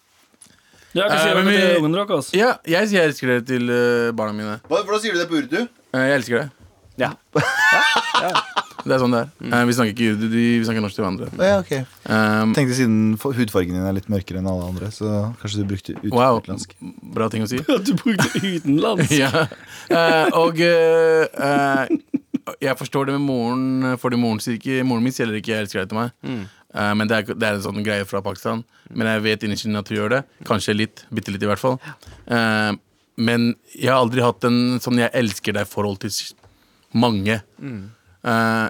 C: Ja, hva sier
E: Eh, men
C: dere til
E: vi-
C: ungene deres?
E: Ja, jeg sier jeg elsker dere til eh, barna mine.
D: Hva- Hvordan sier du det på urdu?
E: Eh, jeg elsker deg.
B: Ja.
E: Det er sånn det er.
D: Mm.
E: Eh, vi snakker ikke judo, vi snakker norsk til hverandre.
D: Ja, ok
E: Um,
D: Tenkte siden for- hudfargen din er litt mørkere enn alle andre, så kanskje du brukte ut
E: wow.
D: utenlandsk.
E: Bra ting å si.
C: At du brukte utenlands?
E: ja. Eh, og eh, eh, jeg forstår det med moren, fordi moren sier ikke Moren min sier heller ikke 'jeg elsker deg' til meg. Eh, men det er, ikke- det er en sånn greie fra Pakistan. Men jeg vet innerst inne at hun gjør det. Kanskje litt. Bitte litt, i hvert fall. Eh, men jeg har aldri hatt en sånn 'jeg elsker deg'-forhold til s- mange. Eh,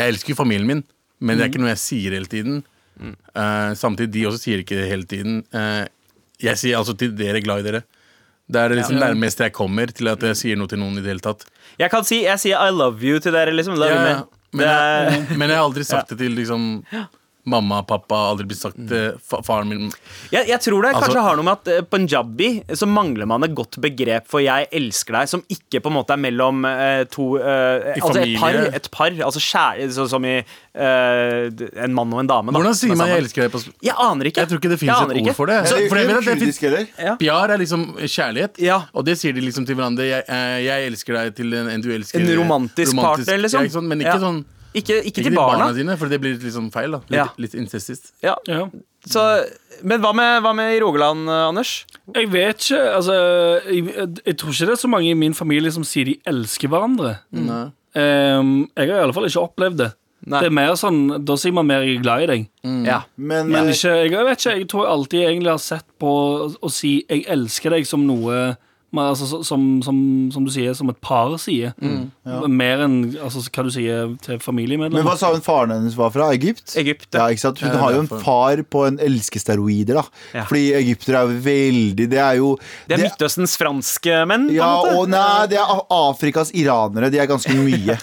E: jeg elsker jo familien min, men det er ikke noe jeg sier hele tiden. Eh, samtidig, de også sier ikke det hele tiden. Eh, jeg sier altså til dere 'glad i dere'. Det er det liksom nærmest jeg kommer til at jeg sier noe til noen i det hele tatt.
B: Jeg kan si jeg sier 'I love you' til dere. liksom Love
E: Ja,
B: you,
E: ja.
B: man.
E: Men,
B: Det
E: jeg, men jeg har aldri sagt det til liksom mamma, pappa, aldri blitt sagt
B: Mm.
E: til fa faren min.
B: Jeg, jeg tror det kanskje
E: Altså-
B: har noe med at eh, punjabi så mangler man et godt begrep for 'jeg elsker deg', som ikke på en måte er mellom eh, to eh,
E: I
B: Altså et par.
E: familie.
B: Et par altså skjære, så, som i eh, d- en mann og en dame. Da,
E: Hvordan
B: som
E: sier
B: er
E: man 'jeg
B: sammen.
E: elsker deg'? på sp-
B: Jeg aner ikke.
E: Jeg tror ikke det
B: Jeg
E: fins
B: aner
E: et
B: ikke.
E: ord for det. Så- For jeg vet at det finnes-
D: Kurdisk, eller?
B: Ja.
E: Pjar er liksom kjærlighet,
B: Ja.
E: og det sier de liksom til hverandre. Jeg, eh, 'Jeg elsker deg' til en, en du elsker.
B: En romantisk partner, liksom.
E: Ja, ikke sånn, men
B: Ja.
E: ikke sånn
B: Ikke, ikke,
E: ikke
B: til barna.
E: dine, for det blir liksom feil. da Litt,
B: Ja.
E: litt incestisk.
B: Ja.
C: Ja.
B: Så, men hva med, hva med i Rogaland, eh, Anders?
C: Jeg vet ikke. altså jeg, jeg tror ikke det er så mange i min familie som sier de elsker hverandre.
E: Nei.
C: Ehm, jeg har i alle fall ikke opplevd det.
B: Nei.
C: Det er mer sånn, Da sier man mer 'jeg er glad i deg'.
D: Mm.
E: Mm.
B: Ja.
D: Men,
C: Men
D: eh,
C: ikke, jeg vet ikke, jeg tror jeg alltid egentlig har sett på å- å si 'jeg elsker deg' som noe men altså, så- som, som, som du sier, som et par sier.
D: Mm.
C: Mer enn altså, hva du sier til
D: men hva
C: familiemedlemmer.
D: sa hun faren hennes var fra? Egypt?
B: Egypt.
D: Ja, ikke sant? Hun
E: Ja, det er
D: har jo en
E: derfor.
D: far på en elskesteroider, da.
B: Ja.
D: Fordi egyptere er jo veldig Det er jo
B: Det er Midtøstens franske menn, på en
D: ja,
B: måte.
D: og nei, det er Af- Afrikas iranere. De er ganske mye.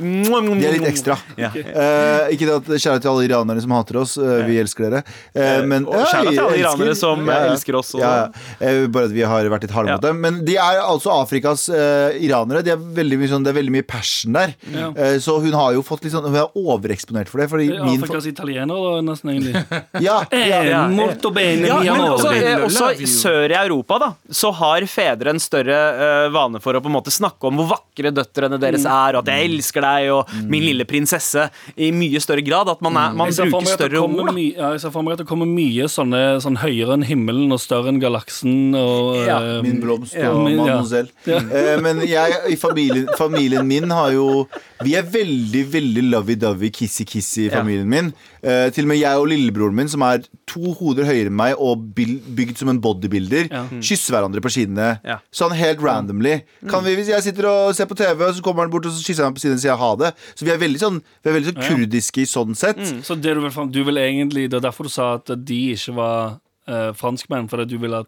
D: De er litt ekstra.
B: Ja.
D: Eh, ikke det at Kjære til alle iranere som hater oss. eh, vi elsker dere. Eh, men,
B: og kjære til alle
D: jeg
B: iranere som, eh, elsker oss også.
D: Ja, ja. Eh, bare at vi har vært litt harde
B: Ja.
D: mot dem. Men de er altså Afrikas eh, iranere. De er veldig mye sånn, det er veldig mye passion der.
C: Ja.
D: Eh, så hun har jo fått litt sånn Hun er overeksponert for det. Fordi min
C: Afrikas italienere, da, nesten egentlig.
D: ja, ja, altså,
C: Eh,
B: ja.
C: molto bene,
B: Ja,
C: mi
B: men
C: amore.
B: også, eh, også
E: Love you.
B: sør i Europa da Så har fedre en større eh, vane for å på en måte snakke om hvor vakre døtrene deres
C: Mm.
B: er, og at 'jeg elsker deg' og 'min lille prinsesse' i mye større grad. At man, er, man
C: Mm. Jeg ser
B: bruker
C: for meg at det
B: større
C: kommer
B: ord. da.
C: mye- Ja, jeg ser for meg at det kommer mye sånne sånn høyere enn himmelen og større enn galaksen og
B: Ja,
C: eh,
D: Min blomst og
C: Ja, men- ja.
D: mademoiselle. Eh, men jeg, i familien, familien min har jo Vi er veldig, veldig lovey-dovey, kissy-kissy i
B: Ja.
D: familien min. Eh, til og med jeg og lillebroren min, som er to hoder høyere enn meg og bil- bygd som en bodybuilder,
C: Ja. Mm.
D: kysser hverandre på kinnene.
B: Ja.
D: Sånn helt randomly.
C: Mm.
D: Kan vi, hvis jeg sitter og ser på TV, og så kommer han bort og så kysser han meg på kinnet og sier ha det. Så vi er veldig sånn, vi er veldig sånn kurdiske i sånn sett.
C: Så det du vil fram Du vil egentlig Det er derfor du sa at de ikke var eh, franskmenn, fordi du vil at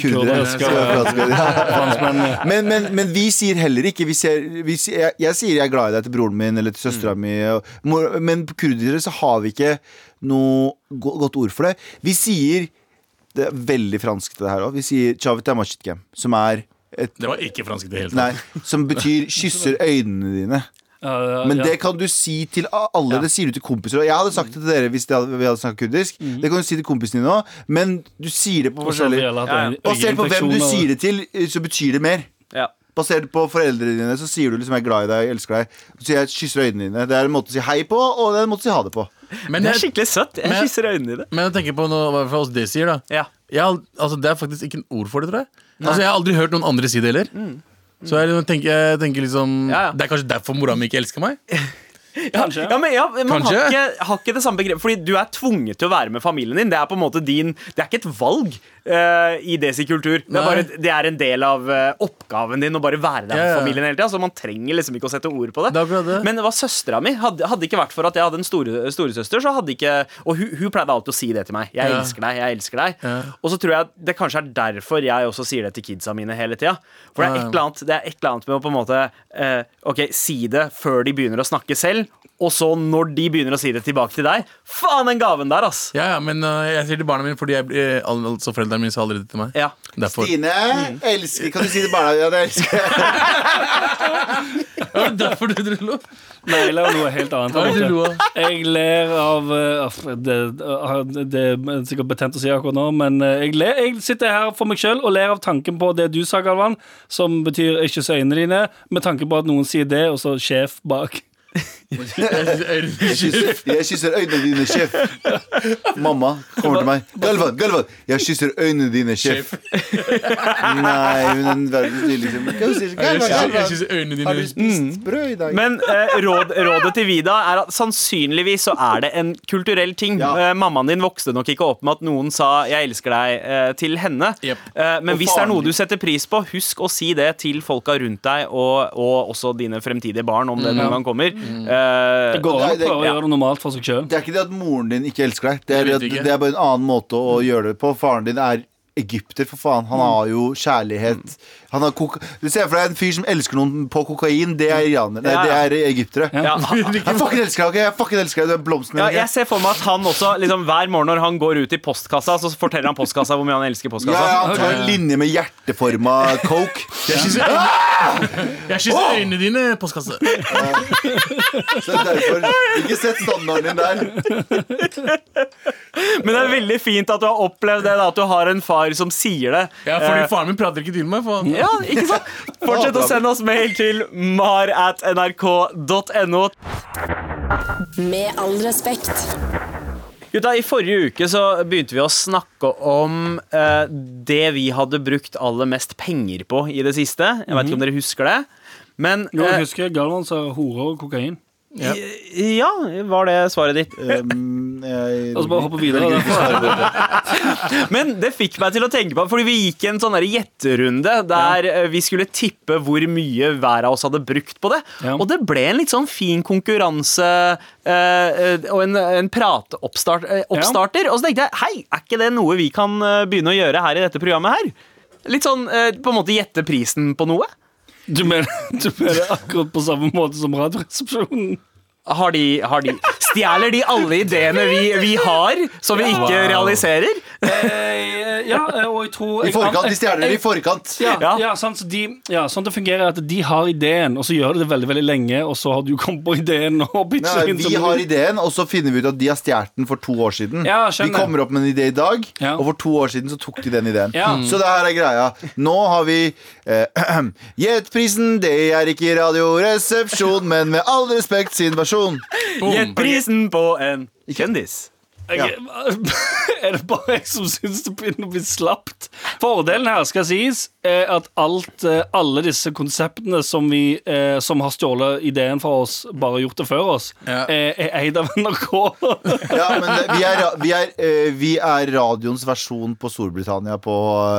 D: Kurdere.
C: kurdere skal Franskmenn.
D: men, men, men vi sier heller ikke vi ser, vi, sier- jeg, jeg sier jeg er glad i deg til broren min eller til søstera
C: Mm.
D: mi, og mor- men på kurdere så har vi ikke noe go godt ord for det. Vi sier Det er veldig fransk, det her òg. Vi sier chavita machitkem, som er et
E: Det var ikke fransk i det hele tatt.
D: Nei, som betyr 'kysser øynene dine'.
C: Ja, ja,
D: Men
C: ja.
D: det kan du si til a- alle. Det sier du til kompiser. Og jeg hadde sagt det til dere hvis det hadde, vi hadde snakket kurdisk. Det kan du si til kompisene dine òg, men du sier det på
C: Mm. Og så har vi
D: forskjellig
C: alle hatt
B: Ja, ja.
C: øye-
D: Basert på hvem du
C: øyeinfeksjoner.
D: sier det til, så eh, betyr det mer.
B: Ja.
D: basert på foreldrene dine, så sier du liksom 'jeg er glad i deg, jeg elsker deg'. Så jeg kysser øynene dine. Det er en måte å si hei på, og det er en måte å si ha det på.
E: Men
B: Det er
E: jeg,
B: skikkelig søtt. Jeg
E: Men-
B: kysser øynene i det.
E: men jeg tenker på noe, i hvert fall hos det sier, da.
B: Ja.
E: Jeg, har ald- altså, det er faktisk ikke en ord for det, tror jeg. Altså, jeg har aldri hørt noen andre si det heller. Så jeg liksom tenker, jeg tenker liksom
B: Ja, ja.
E: Det er kanskje derfor mora mi ikke elsker meg?
C: Kanskje.
B: Ja, men ja, Man har
E: Kanskje.
B: ikke, har ikke det samme begrepet. Fordi du er tvunget til å være med familien din. Det er på en måte din Det er ikke et valg eh, i desikultur. Det
E: Nei.
B: er, bare, det er en del av eh, oppgaven din å bare være der
E: Ja, ja.
B: med familien hele tida. Så man trenger liksom ikke å sette ord på det.
E: Det er akkurat det.
B: Men det var søstera mi. Hadde, hadde ikke vært for at jeg hadde en store, storesøster, så hadde ikke Og hun, hun pleide alltid å si det til meg. 'Jeg
E: Ja.
B: elsker deg, jeg elsker deg'.
E: Ja.
B: Og så tror jeg at det kanskje er derfor jeg også sier det til kidsa mine hele tida. For det er
E: Ja, ja.
B: et eller annet, det er et eller annet med å på en måte eh, Ok, si det før de begynner å snakke selv, og så når de begynner å si det tilbake til deg Faen, den gaven der, ass!
E: Ja, ja, men øh, jeg sier til barna mine fordi jeg, blir- al- altså, foreldrene mine sa aldri det til meg.
B: Ja.
E: Derfor.
D: Stine,
E: Mm.
D: elsker Kan du si til barna dine at jeg elsker deg?
E: Ja, derfor du dro lo.
C: Nei, jeg ler av noe helt annet.
E: Hva er det du lo av?
C: Jeg ler av eh, aff, det, ah, det er sikkert betent å si akkurat nå, men eh, jeg, ler, jeg sitter her for meg sjøl og ler av tanken på det du sa, Galvan, som betyr 'ikke se øynene dine', med tanke på at noen sier det, og så sjef bak.
D: Jeg kysser, jeg kysser øynene dine, sjef. Mamma kommer til meg. Galvan, Galvan, jeg kysser øynene dine, sjef. Nei, hun er den verdens nydeligste. Men hva sier du? Galvan,
E: Jeg kysser- Mm. Jeg
D: Galvan,
E: kysser øynene
D: Har du
E: dine.
D: spist brød i dag?
B: Men eh, råd, rådet til Vida er at sannsynligvis så er det en kulturell ting.
D: Ja.
B: Eh, mammaen din vokste nok ikke opp med at noen sa 'jeg elsker deg' eh, til henne.
E: Jep.
B: Eh, men
D: Og
B: hvis det er
D: faren
B: noe du
D: din.
B: setter pris på, husk å si det til folka rundt deg, og, og også dine fremtidige barn, om det noen gang kommer. Eh,
C: Det går an å
D: Nei, det-
C: prøve å
D: ja.
C: gjøre det normalt for seg sjøl.
D: Det er ikke det at moren din ikke elsker deg. Det er, det
E: Det vet
D: at,
E: vi ikke.
D: det er bare en annen måte å gjøre det på. Faren din er egypter, for faen.
B: Mm.
D: Han har jo kjærlighet. Han har koka du ser for deg en fyr som elsker noen på kokain. Det er iraner. Nei,
B: Ja,
D: det
B: ja.
D: er egyptere.
B: ja,
D: Jeg fucking elsker deg, ok? Jeg fucking elsker deg, du er blomsten min.
B: Ja,
D: ok?
B: jeg ser for meg at han også liksom, Hver morgen når han går ut i postkassa, så forteller han postkassa hvor mye han elsker postkassa.
D: Ja, ja, han tar en linje med hjerteforma coke.
E: Jeg kysser øynene- Jeg kysser øynene dine, postkasse.
D: Så det er derfor Ikke sett standarden din der.
B: Men det er veldig fint at du har opplevd det, da, at du har en far som sier det.
E: Ja, fordi
B: Eh,
E: faren min prater ikke til meg. Faen.
B: ja, ikke sant? Fortsett å sende oss mail til mar at nrk.no.
A: Med all respekt.
B: Gutta, I forrige uke så begynte vi å snakke om eh, det vi hadde brukt aller mest penger på i det siste. Jeg vet ikke om dere husker det. Men
C: Jo,
B: eh,
C: jeg husker Galvan sa hore og kokain.
E: Ja.
B: ja, var det svaret ditt?
D: Um, jeg,
C: Og så Altså, bare hoppe videre. da.
B: Men det fikk meg til å tenke på Fordi vi gikk en sånn der gjetterunde Der eh, vi skulle tippe hvor mye hver av oss hadde brukt på det
C: Ja.
B: Og det ble en litt sånn fin konkurranse eh, eh, Og en, en prateoppstarter Og så tenkte jeg, hei, er ikke det noe vi kan eh, begynne å gjøre her i dette programmet her? Litt sånn, eh, på en måte gjette prisen på noe
C: Du mener, du mener akkurat på samme måte som Radioresepsjonen?
B: har de, har de, stjeler de alle ideene vi, vi har Som vi ikke
E: Wow.
B: realiserer
C: Eh, Ja, og jeg tror
D: I forkant, De stjeler det i forkant.
C: Ja,
B: Ja.
C: ja. sånn, så de, ja, sånn det fungerer er at de har ideen, og så gjør de det veldig veldig lenge, og så har du kommet på ideen og pitcher
D: Nei,
C: inn
D: vi har ideen, og så finner vi ut at de har stjålet den for to år siden.
C: Ja,
D: de
C: skjønner.
D: kommer opp med en idé i dag,
C: Ja.
D: og for to år siden så tok de den ideen. Mm.
C: Ja.
D: Så det her er greia. Nå har vi eh, Gjetprisen, det er ikke Radioresepsjon, men med all respekt sin versjon.
B: Gjett prisen på en kjendis
C: Jeg- Er det bare jeg som syns det begynner å bli slapt? Fordelen her skal sies er at alt, eh, alle disse konseptene som, vi, eh, som har stjålet ideen fra oss, bare gjort det før oss,
E: Ja.
C: eh, er eid av NRK.
D: Ja, men det, vi, er, ra- vi, er, eh, vi er radioens versjon på Storbritannia på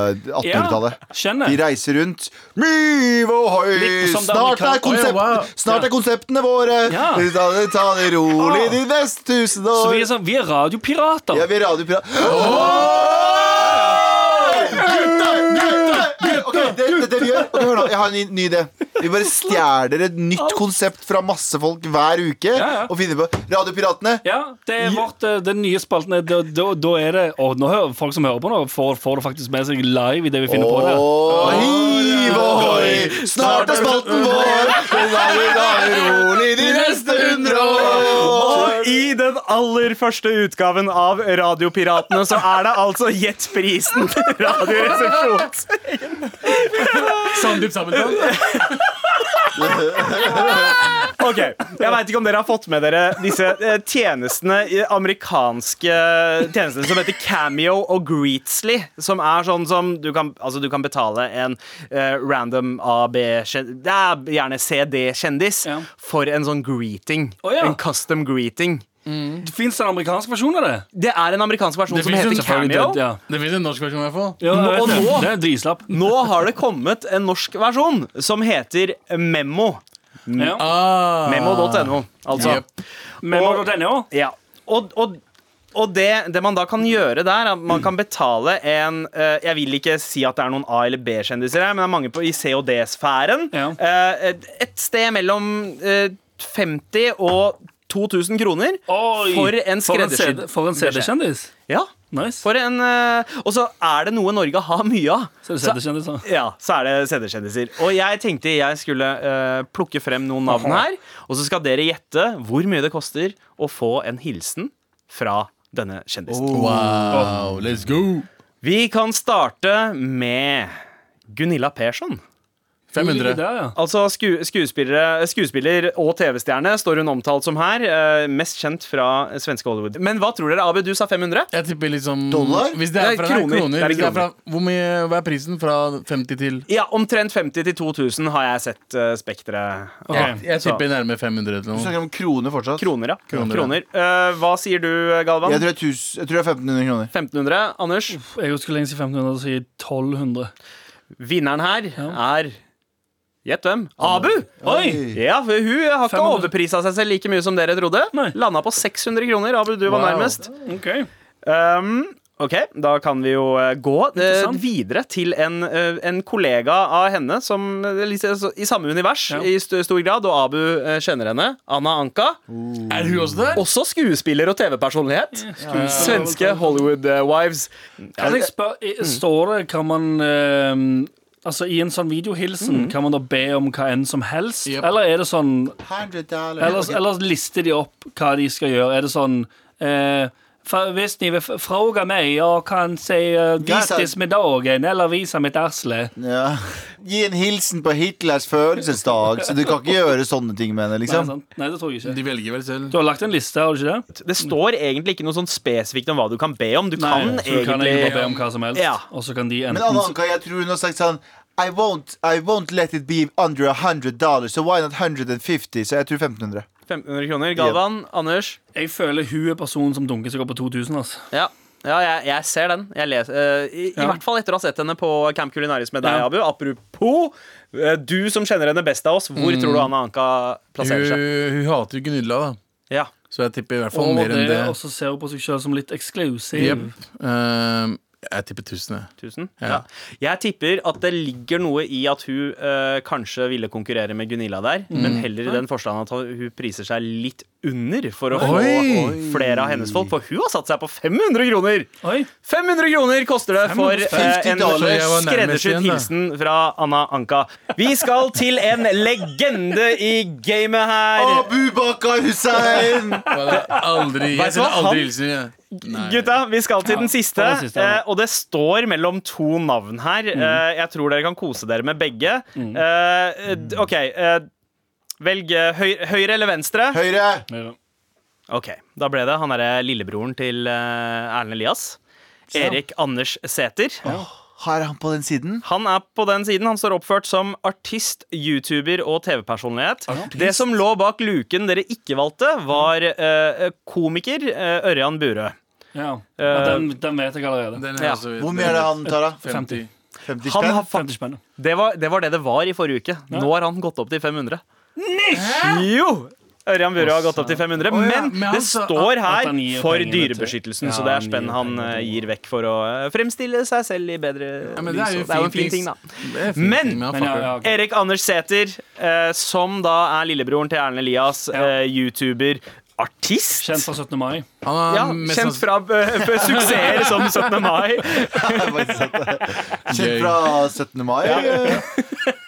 D: eh, 1800-tallet.
C: skjønner.
D: De reiser rundt. Myv og høy!
C: Litt som det
D: Snart er,
C: amerikan-
D: konsept,
E: Å, ja, wow.
D: snart er konseptene våre!
C: Ja.
D: Ta, det, ta det rolig de neste tusen
C: Så
D: år.
C: vi er, sånn, vi er radiopirater.
D: Ja, vi er radiopira... Gutta, gutta, gutta! Ok, det, det, det vi gjør ok, Hør nå, jeg har en ny, ny idé. Vi bare stjeler et nytt konsept fra masse folk hver uke
C: Ja, ja.
D: og finner på Radiopiratene.
C: Ja, det er vårt, eh, den nye spalten er, da, da, da er det Og nå hører folk som hører på nå, får, får det faktisk med seg live i det vi finner på der.
D: Åh, hiv ohoi, snart er spalten vår. Så lar vi da det rolig de neste hundre år.
B: Og i den aller første utgaven av Radiopiratene så er det altså Gjett prisen til Radioresepsjonen.
E: Sandeep Sabeltann.
B: Ok, Jeg veit ikke om dere har fått med dere disse eh, tjenestene eh, amerikanske tjenestene som heter Cameo og Greetsly. Som er sånn som du kan, altså du kan betale en eh, random AB Det er gjerne CD-kjendis
C: Ja.
B: for en sånn greeting.
C: Å, ja.
B: En custom greeting.
C: Fins det en amerikansk versjon av det?
B: Det er en amerikansk versjon
E: Det
B: som
E: finnes en
B: heter
E: selvfølgelig
B: Cameo.
C: Ja.
E: Det fins en norsk versjon, i hvert fall.
C: Ja, jeg
B: og
C: vet
B: nå-
C: Det er drislapp.
B: Nå har det kommet en norsk versjon som heter Memo.
C: Ja.
E: Ah.
B: Memo.no, altså.
E: Jep.
C: Men må du denne også?
B: Ja, og, og og det, det man da kan gjøre der, er at
C: Mm.
B: man kan betale en eh, Jeg vil ikke si at det er noen A- eller B-kjendiser her, men det er mange på, i C- og D-sfæren.
C: Ja.
B: Eh, et- et sted mellom eh, 50 og 2000 kroner
C: Oi,
B: for en skreddersydd
C: CD For en CD-kjendis?
B: Ja,
C: Nice.
B: for en eh, Og så er det noe Norge har mye av.
C: Så er det CD-kjendis, da.
B: Ja, så er det CD-kjendiser. Og jeg tenkte jeg skulle eh, plukke frem noen navn her. Og så skal dere gjette hvor mye det koster å få en hilsen fra denne
E: Oh.
B: kjendisen.
E: Wow, let's go!
B: Vi kan starte med Gunilla Persson.
E: 500.
C: Der, ja.
B: Altså sku, skuespillere, skuespiller og TV-stjerne står hun omtalt som her. eh, mest kjent fra svenske Hollywood. Men hva tror dere, Abu? Du sa 500?
E: Jeg tipper liksom
D: Dollar?
E: Hvis det er
B: Nei,
E: fra
B: kroner.
E: kroner.
B: Det er
E: hvis det er fra,
B: kroner.
E: hvor mye, hva er prisen? Fra 50 til
B: Ja, omtrent 50 til 2000 har jeg sett uh, Spekteret.
E: ja, Ah, Jeg
B: Så-
E: tipper nærmere 500 eller
D: Du
E: noe.
D: snakker om kroner fortsatt.
B: Kroner, ja.
E: Kroner,
B: Kroner.
E: ja.
B: Eh, hva sier du, Galvan?
D: Jeg tror det er, tus, jeg tror det er 1500 kroner.
B: 1500. Anders?
C: Jeg skulle lenge si 1500 og si 1200.
B: Vinneren her er Gjett hvem? Abu!
C: Oi!
B: Ja, for hun har ikke
C: 500.
B: overprisa seg selv like mye som dere trodde.
C: Nei.
B: Landa på 600 kroner. Abu, du var
E: Wow.
B: nærmest.
C: Ok.
B: Um, ok, da kan vi jo eh, gå eh,
C: Interessant.
B: videre til en, eh, en kollega av henne som eh, liksom, så- i samme univers
C: Ja.
B: i st stor grad, og Abu eh, kjenner henne. Anna Anka.
C: Mm.
E: Er hun også der?
B: Også skuespiller og TV-personlighet. Svenske eh, Hollywood-wives.
C: Kan jeg spørre, i- står det Kan man ehm, Altså I en sånn videohilsen, kan man da be om hva enn som helst?
E: Yep.
C: Eller er det sånn
D: 100 dollar.
C: Ellers, ellers lister de opp hva de skal gjøre. Er det sånn eh, fa- Hvis ni vil f- fråga meg og kan si eh,
D: Visa-
C: grattis med dagen eller visa mitt arsle
D: Ja. Gi en hilsen på Hitlers følelsesdag. Så du kan ikke gjøre sånne ting med henne.
C: Nei,
D: liksom
C: sant? Nei, det tror jeg ikke.
E: De velger vel selv.
C: Du har lagt en liste, har du ikke det?
B: Det står egentlig ikke noe sånn spesifikt om hva du kan be om. Du kan
C: Nei, så
B: egentlig
C: du kan egentlig bare be om hva som helst,
B: Ja.
C: og så kan de
D: Men Anna
C: enten
D: Anka, jeg tror hun har sagt sånn I won't, I won't let it be under 100 dollars, so why not 150? Så jeg tror 1500.
B: 1500 kroner. Galvan, Anders.
C: Jeg føler hun er personen som dunker seg opp på 2000, altså.
B: Ja, ja jeg, jeg ser den. Jeg les, eh, i, I
C: Ja.
B: hvert fall etter å ha sett henne på Camp Culinaris med deg,
C: Ja.
B: Abu. Apropos, eh, du som kjenner henne best av oss, hvor tror du Anna Anka
E: Hun,
B: plasserer seg?
E: hun hater jo Gunilla, da.
B: Ja.
E: Så jeg tipper i hvert fall
C: Og
E: mer enn det.
C: det også ser hun på seg sjøl som litt eksklusiv.
E: Jep. Ehm, jeg tipper 1000. jeg.
B: Tusen.
E: Ja.
B: Ja. Jeg tipper at det ligger noe i at hun eh, kanskje ville konkurrere med Gunilla der, men heller i den forstand at hun priser seg litt under for å få
E: Oi!
B: flere av hennes folk. For hun har satt seg på 500 kroner!
C: Oi,
B: 500 kroner koster det for eh,
D: 50
B: en
D: dollar.
E: Jeg var nærmest
B: skreddersydd
E: igjen, da.
B: hilsen fra Anna Anka. Vi skal til en legende i gamet her.
D: Abu Bakar Hussein!
E: Jeg har Aldri, jeg
B: Vet du hva,
E: sender aldri
B: han-
E: hilsener. jeg. Nei.
B: Gutta, vi skal til den siste,
C: ta den siste, ja.
B: eh, og det står mellom to navn her. Eh, Jeg tror dere kan kose dere med begge. Eh, d- OK. eh, Velg eh, høy- høyre eller venstre.
D: Høyre!
B: Ok, Da ble det han derre lillebroren til eh, Erlend Elias. Erik Anders Sæther.
D: Har han på den siden?
B: Han er på den siden. Han står oppført som artist, youtuber og TV-personlighet. Det som lå bak luken dere ikke valgte, var eh, komiker eh, Ørjan Burøe.
C: ja. ja den, den vet jeg allerede.
E: Den
B: Ja.
E: er også,
D: Hvor mye er det han tar, da?
E: 50.
D: 50
B: Han
D: spenn?
B: har fa-
C: 50 spenn.
B: det, var, det var det det var i forrige uke. Nå har han gått opp til 500. Jo! Ørjan Burøe har gått opp til 500, men
E: Men han
B: det
E: sa
B: står her
C: han gir
B: for
C: penger, vet du.
B: Dyrebeskyttelsen,
C: Ja,
B: så det
C: han
B: er spenn
C: gir
B: han
C: penger
B: eh,
C: til-
B: gir vekk for å eh, fremstille seg selv i bedre
E: Ja, men
B: lys.
E: det er jo
B: og Det er jo en fin
E: ting,
B: ting, da.
E: Det er en fin
B: Men-
E: ting, han
C: Men ja,
E: fucker.
C: ja, ok.
B: Erik Anders Sæther, eh, som da er lillebroren til Erlend Elias, eh, youtuber, artist.
C: Kjent fra 17. mai.
E: Han har
B: ja,
E: mest
B: kjent fra eh, for suksesser som 17. mai.
D: Kjent fra 17. mai.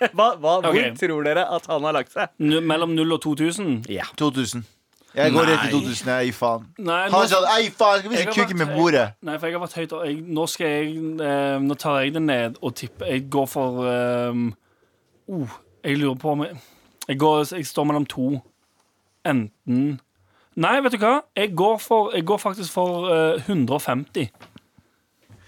B: Hva, hva,
C: Ok.
B: Hvor tror dere at han har lagt seg?
C: Nu- Mellom 0 og 2000.
B: Ja.
D: 2000. Jeg går rett i 2000. Jeg gir faen.
C: Nei,
D: Han
C: nå,
D: sa ei faen, skal vi
C: Jeg
D: ikke
C: har
D: kuke med
C: vært-
D: bordet?
C: nei, for jeg har vært høyt og jeg, Nå skal jeg eh, Nå tar jeg det ned og tipper Jeg går for eh, oh, Jeg lurer på om jeg, jeg, går, jeg står mellom to. Enten Nei, vet du hva? Jeg går, for, jeg går faktisk for eh, 150.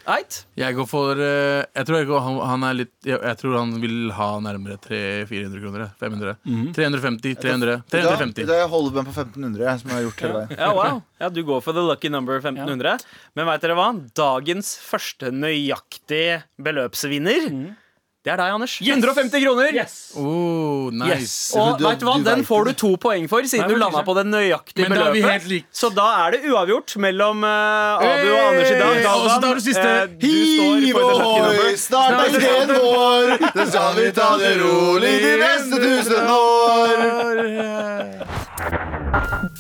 B: Eit?
E: Jeg går for eh, Jeg tror jeg, går, han, han er litt, jeg, jeg tror han vil ha nærmere 300-400 kroner. jeg. 500. 350, 300,
D: Da,
E: 350.
D: da holder meg på 1500, jeg, som jeg har gjort hele veien.
B: Ja, wow. ja, du går for the lucky number 1500. Men veit dere hva? Dagens første nøyaktig beløpsvinner, det er deg, Anders. 150 kroner!
E: Oh, nice.
B: Yes. Og
D: Du-
B: vet du hva,
D: du
B: Den
D: vet
B: får du to poeng for, siden
C: Nei,
B: du
C: men
B: landa
C: ikke.
B: på det nøyaktige
E: Men da er vi helt
B: beløpet.
E: likt.
B: Så da er det uavgjort mellom eh, Abu og Anders i dag.
E: Hey! Og så tar du siste.
B: eh, du står for the lucky number.
D: Hivåi, snart er ideen vår. Da skal vi ta det rolig de neste tusen år.
E: eh,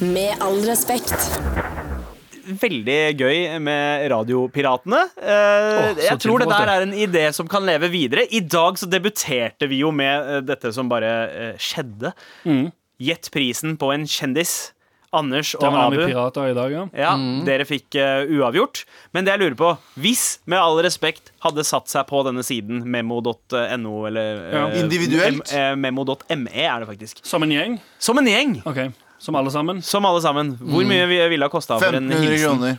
A: Med all respekt.
B: veldig gøy med Radiopiratene. Eh,
C: Åh, så
B: jeg tror det
C: tilfredsstillende.
B: der er en idé som kan leve videre. I dag så debuterte vi jo med eh, dette som bare eh, skjedde. Gjett prisen på en kjendis. Anders og
C: Der var vi
B: Abu.
C: pirater i dag, ja.
B: Ja,
E: Mm.
B: Dere fikk eh, uavgjort. Men det jeg lurer på Hvis, med all respekt, hadde satt seg på denne siden memo.no eller eh,
C: Ja.
D: Individuelt?
B: Mem- eh, Memo.me er det faktisk.
C: Som en gjeng.
B: Som en gjeng!
C: OK. Som alle sammen.
B: Som alle sammen.
E: Mm.
B: Hvor mye vi- eh, ville det kosta for en
D: 1500
B: hilsen?
D: kroner.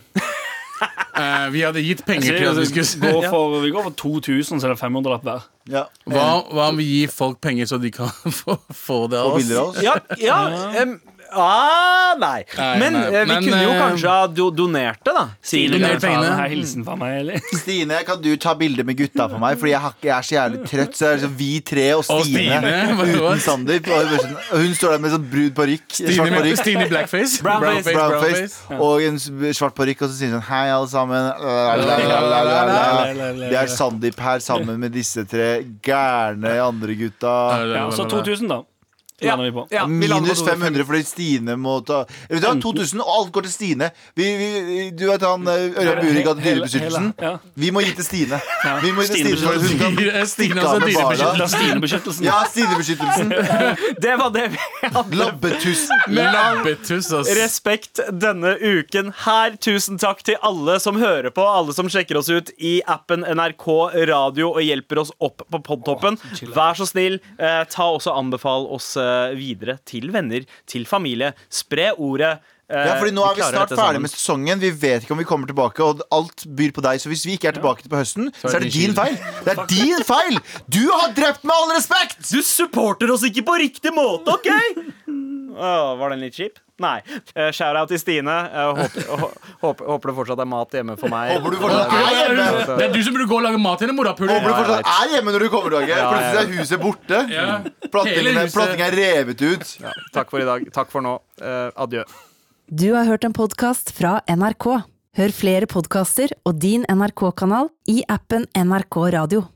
E: Eh, vi hadde gitt penger til at vi skulle
C: Går for, vi går for 2000, så det er 500 lapp hver.
D: Ja.
E: hva, hva om vi gir folk penger så de kan få, få det av
D: Og
E: oss?
D: bilder av oss.
B: Ja, ja em, ah, nei.
E: Nei,
B: Men
E: nei.
B: eh, vi
E: Men,
B: kunne jo
E: eh,
B: kanskje ha do donert det, da. Sier
E: Doner
B: du.
E: pengene.
C: Her hilsen fra meg, eller?
D: Stine, kan du ta bilde med gutta for meg? Fordi jeg, har ikke- jeg er så jævlig trøtt. Så er det liksom vi tre og Stine,
E: Og Stine, hva- hva?
D: uten Sandeep. Og bare sånn- og hun står der med sånn brud parykk.
E: Stine,
D: Svart
E: med,
D: parykk.
E: Stine i blackface.
B: Brownface,
D: Brownface. Og en s- svart parykk, og så sier hun sånn Hei, alle sammen. La, la, la, la, la, la. Det er Sandeep her sammen med disse tre gærne andre gutta.
C: Ja, så 2000, da.
B: Ja,
C: Lander vi på.
B: ja, vi lander på
D: Minus 500 fordi Stine må ta Vet du hva, 2000, og alt går til Stine. Vi, vi, du vet han eh, Ørjan Burek hadde
C: Hele-
D: Dyrebeskyttelsen?
C: hele- ja.
D: Vi må gi til Stine. Vi må gi til Stine, så hun kan
E: Stine, Stine
D: Stikke av
E: altså
D: med
C: La
D: barna.
E: dyrebeskyttelse.
C: Stine-beskyttelsen.
D: Ja, sidebeskyttelsen.
B: Det var det vi hadde.
D: Labbetussen.
E: Labbetuss, ass.
B: Respekt denne uken her. Tusen takk til alle som hører på, alle som sjekker oss ut i appen NRK Radio og hjelper oss opp på podtoppen. Vær så snill, eh, ta også anbefal oss eh, videre til venner, til familie. Spre ordet. eh,
D: Ja, fordi Nå er vi
B: klarer dette
D: snart
B: sammen.
D: ferdig med sesongen. Vi vet ikke om vi kommer tilbake. Og alt byr på deg Så hvis vi ikke er tilbake på høsten, så er det din
E: din
D: feil. Det er din feil! Du har drept med all respekt!
B: Du supporter oss ikke på riktig måte, OK? Åh, var den litt kjip? Nei. Uh, Shout-out til Stine. Jeg håper, hå- håper, håper det fortsatt er mat hjemme for meg. Eh,
D: Håper du fortsatt er hjemme
E: Det er du som burde gå og lage mat til henne,
D: Håper du
E: morapuler.
D: fortsatt er hjemme når du kommer tilbake.
B: Ja, ja, ja.
D: Plutselig er huset borte.
E: Ja. Hele
D: Plattingen
E: huset.
D: er- plattingen er revet ut.
B: Takk for i dag. Takk for nå. Eh, adjø.
G: Du har hørt en podkast fra NRK. Hør flere podkaster og din NRK-kanal i appen NRK Radio.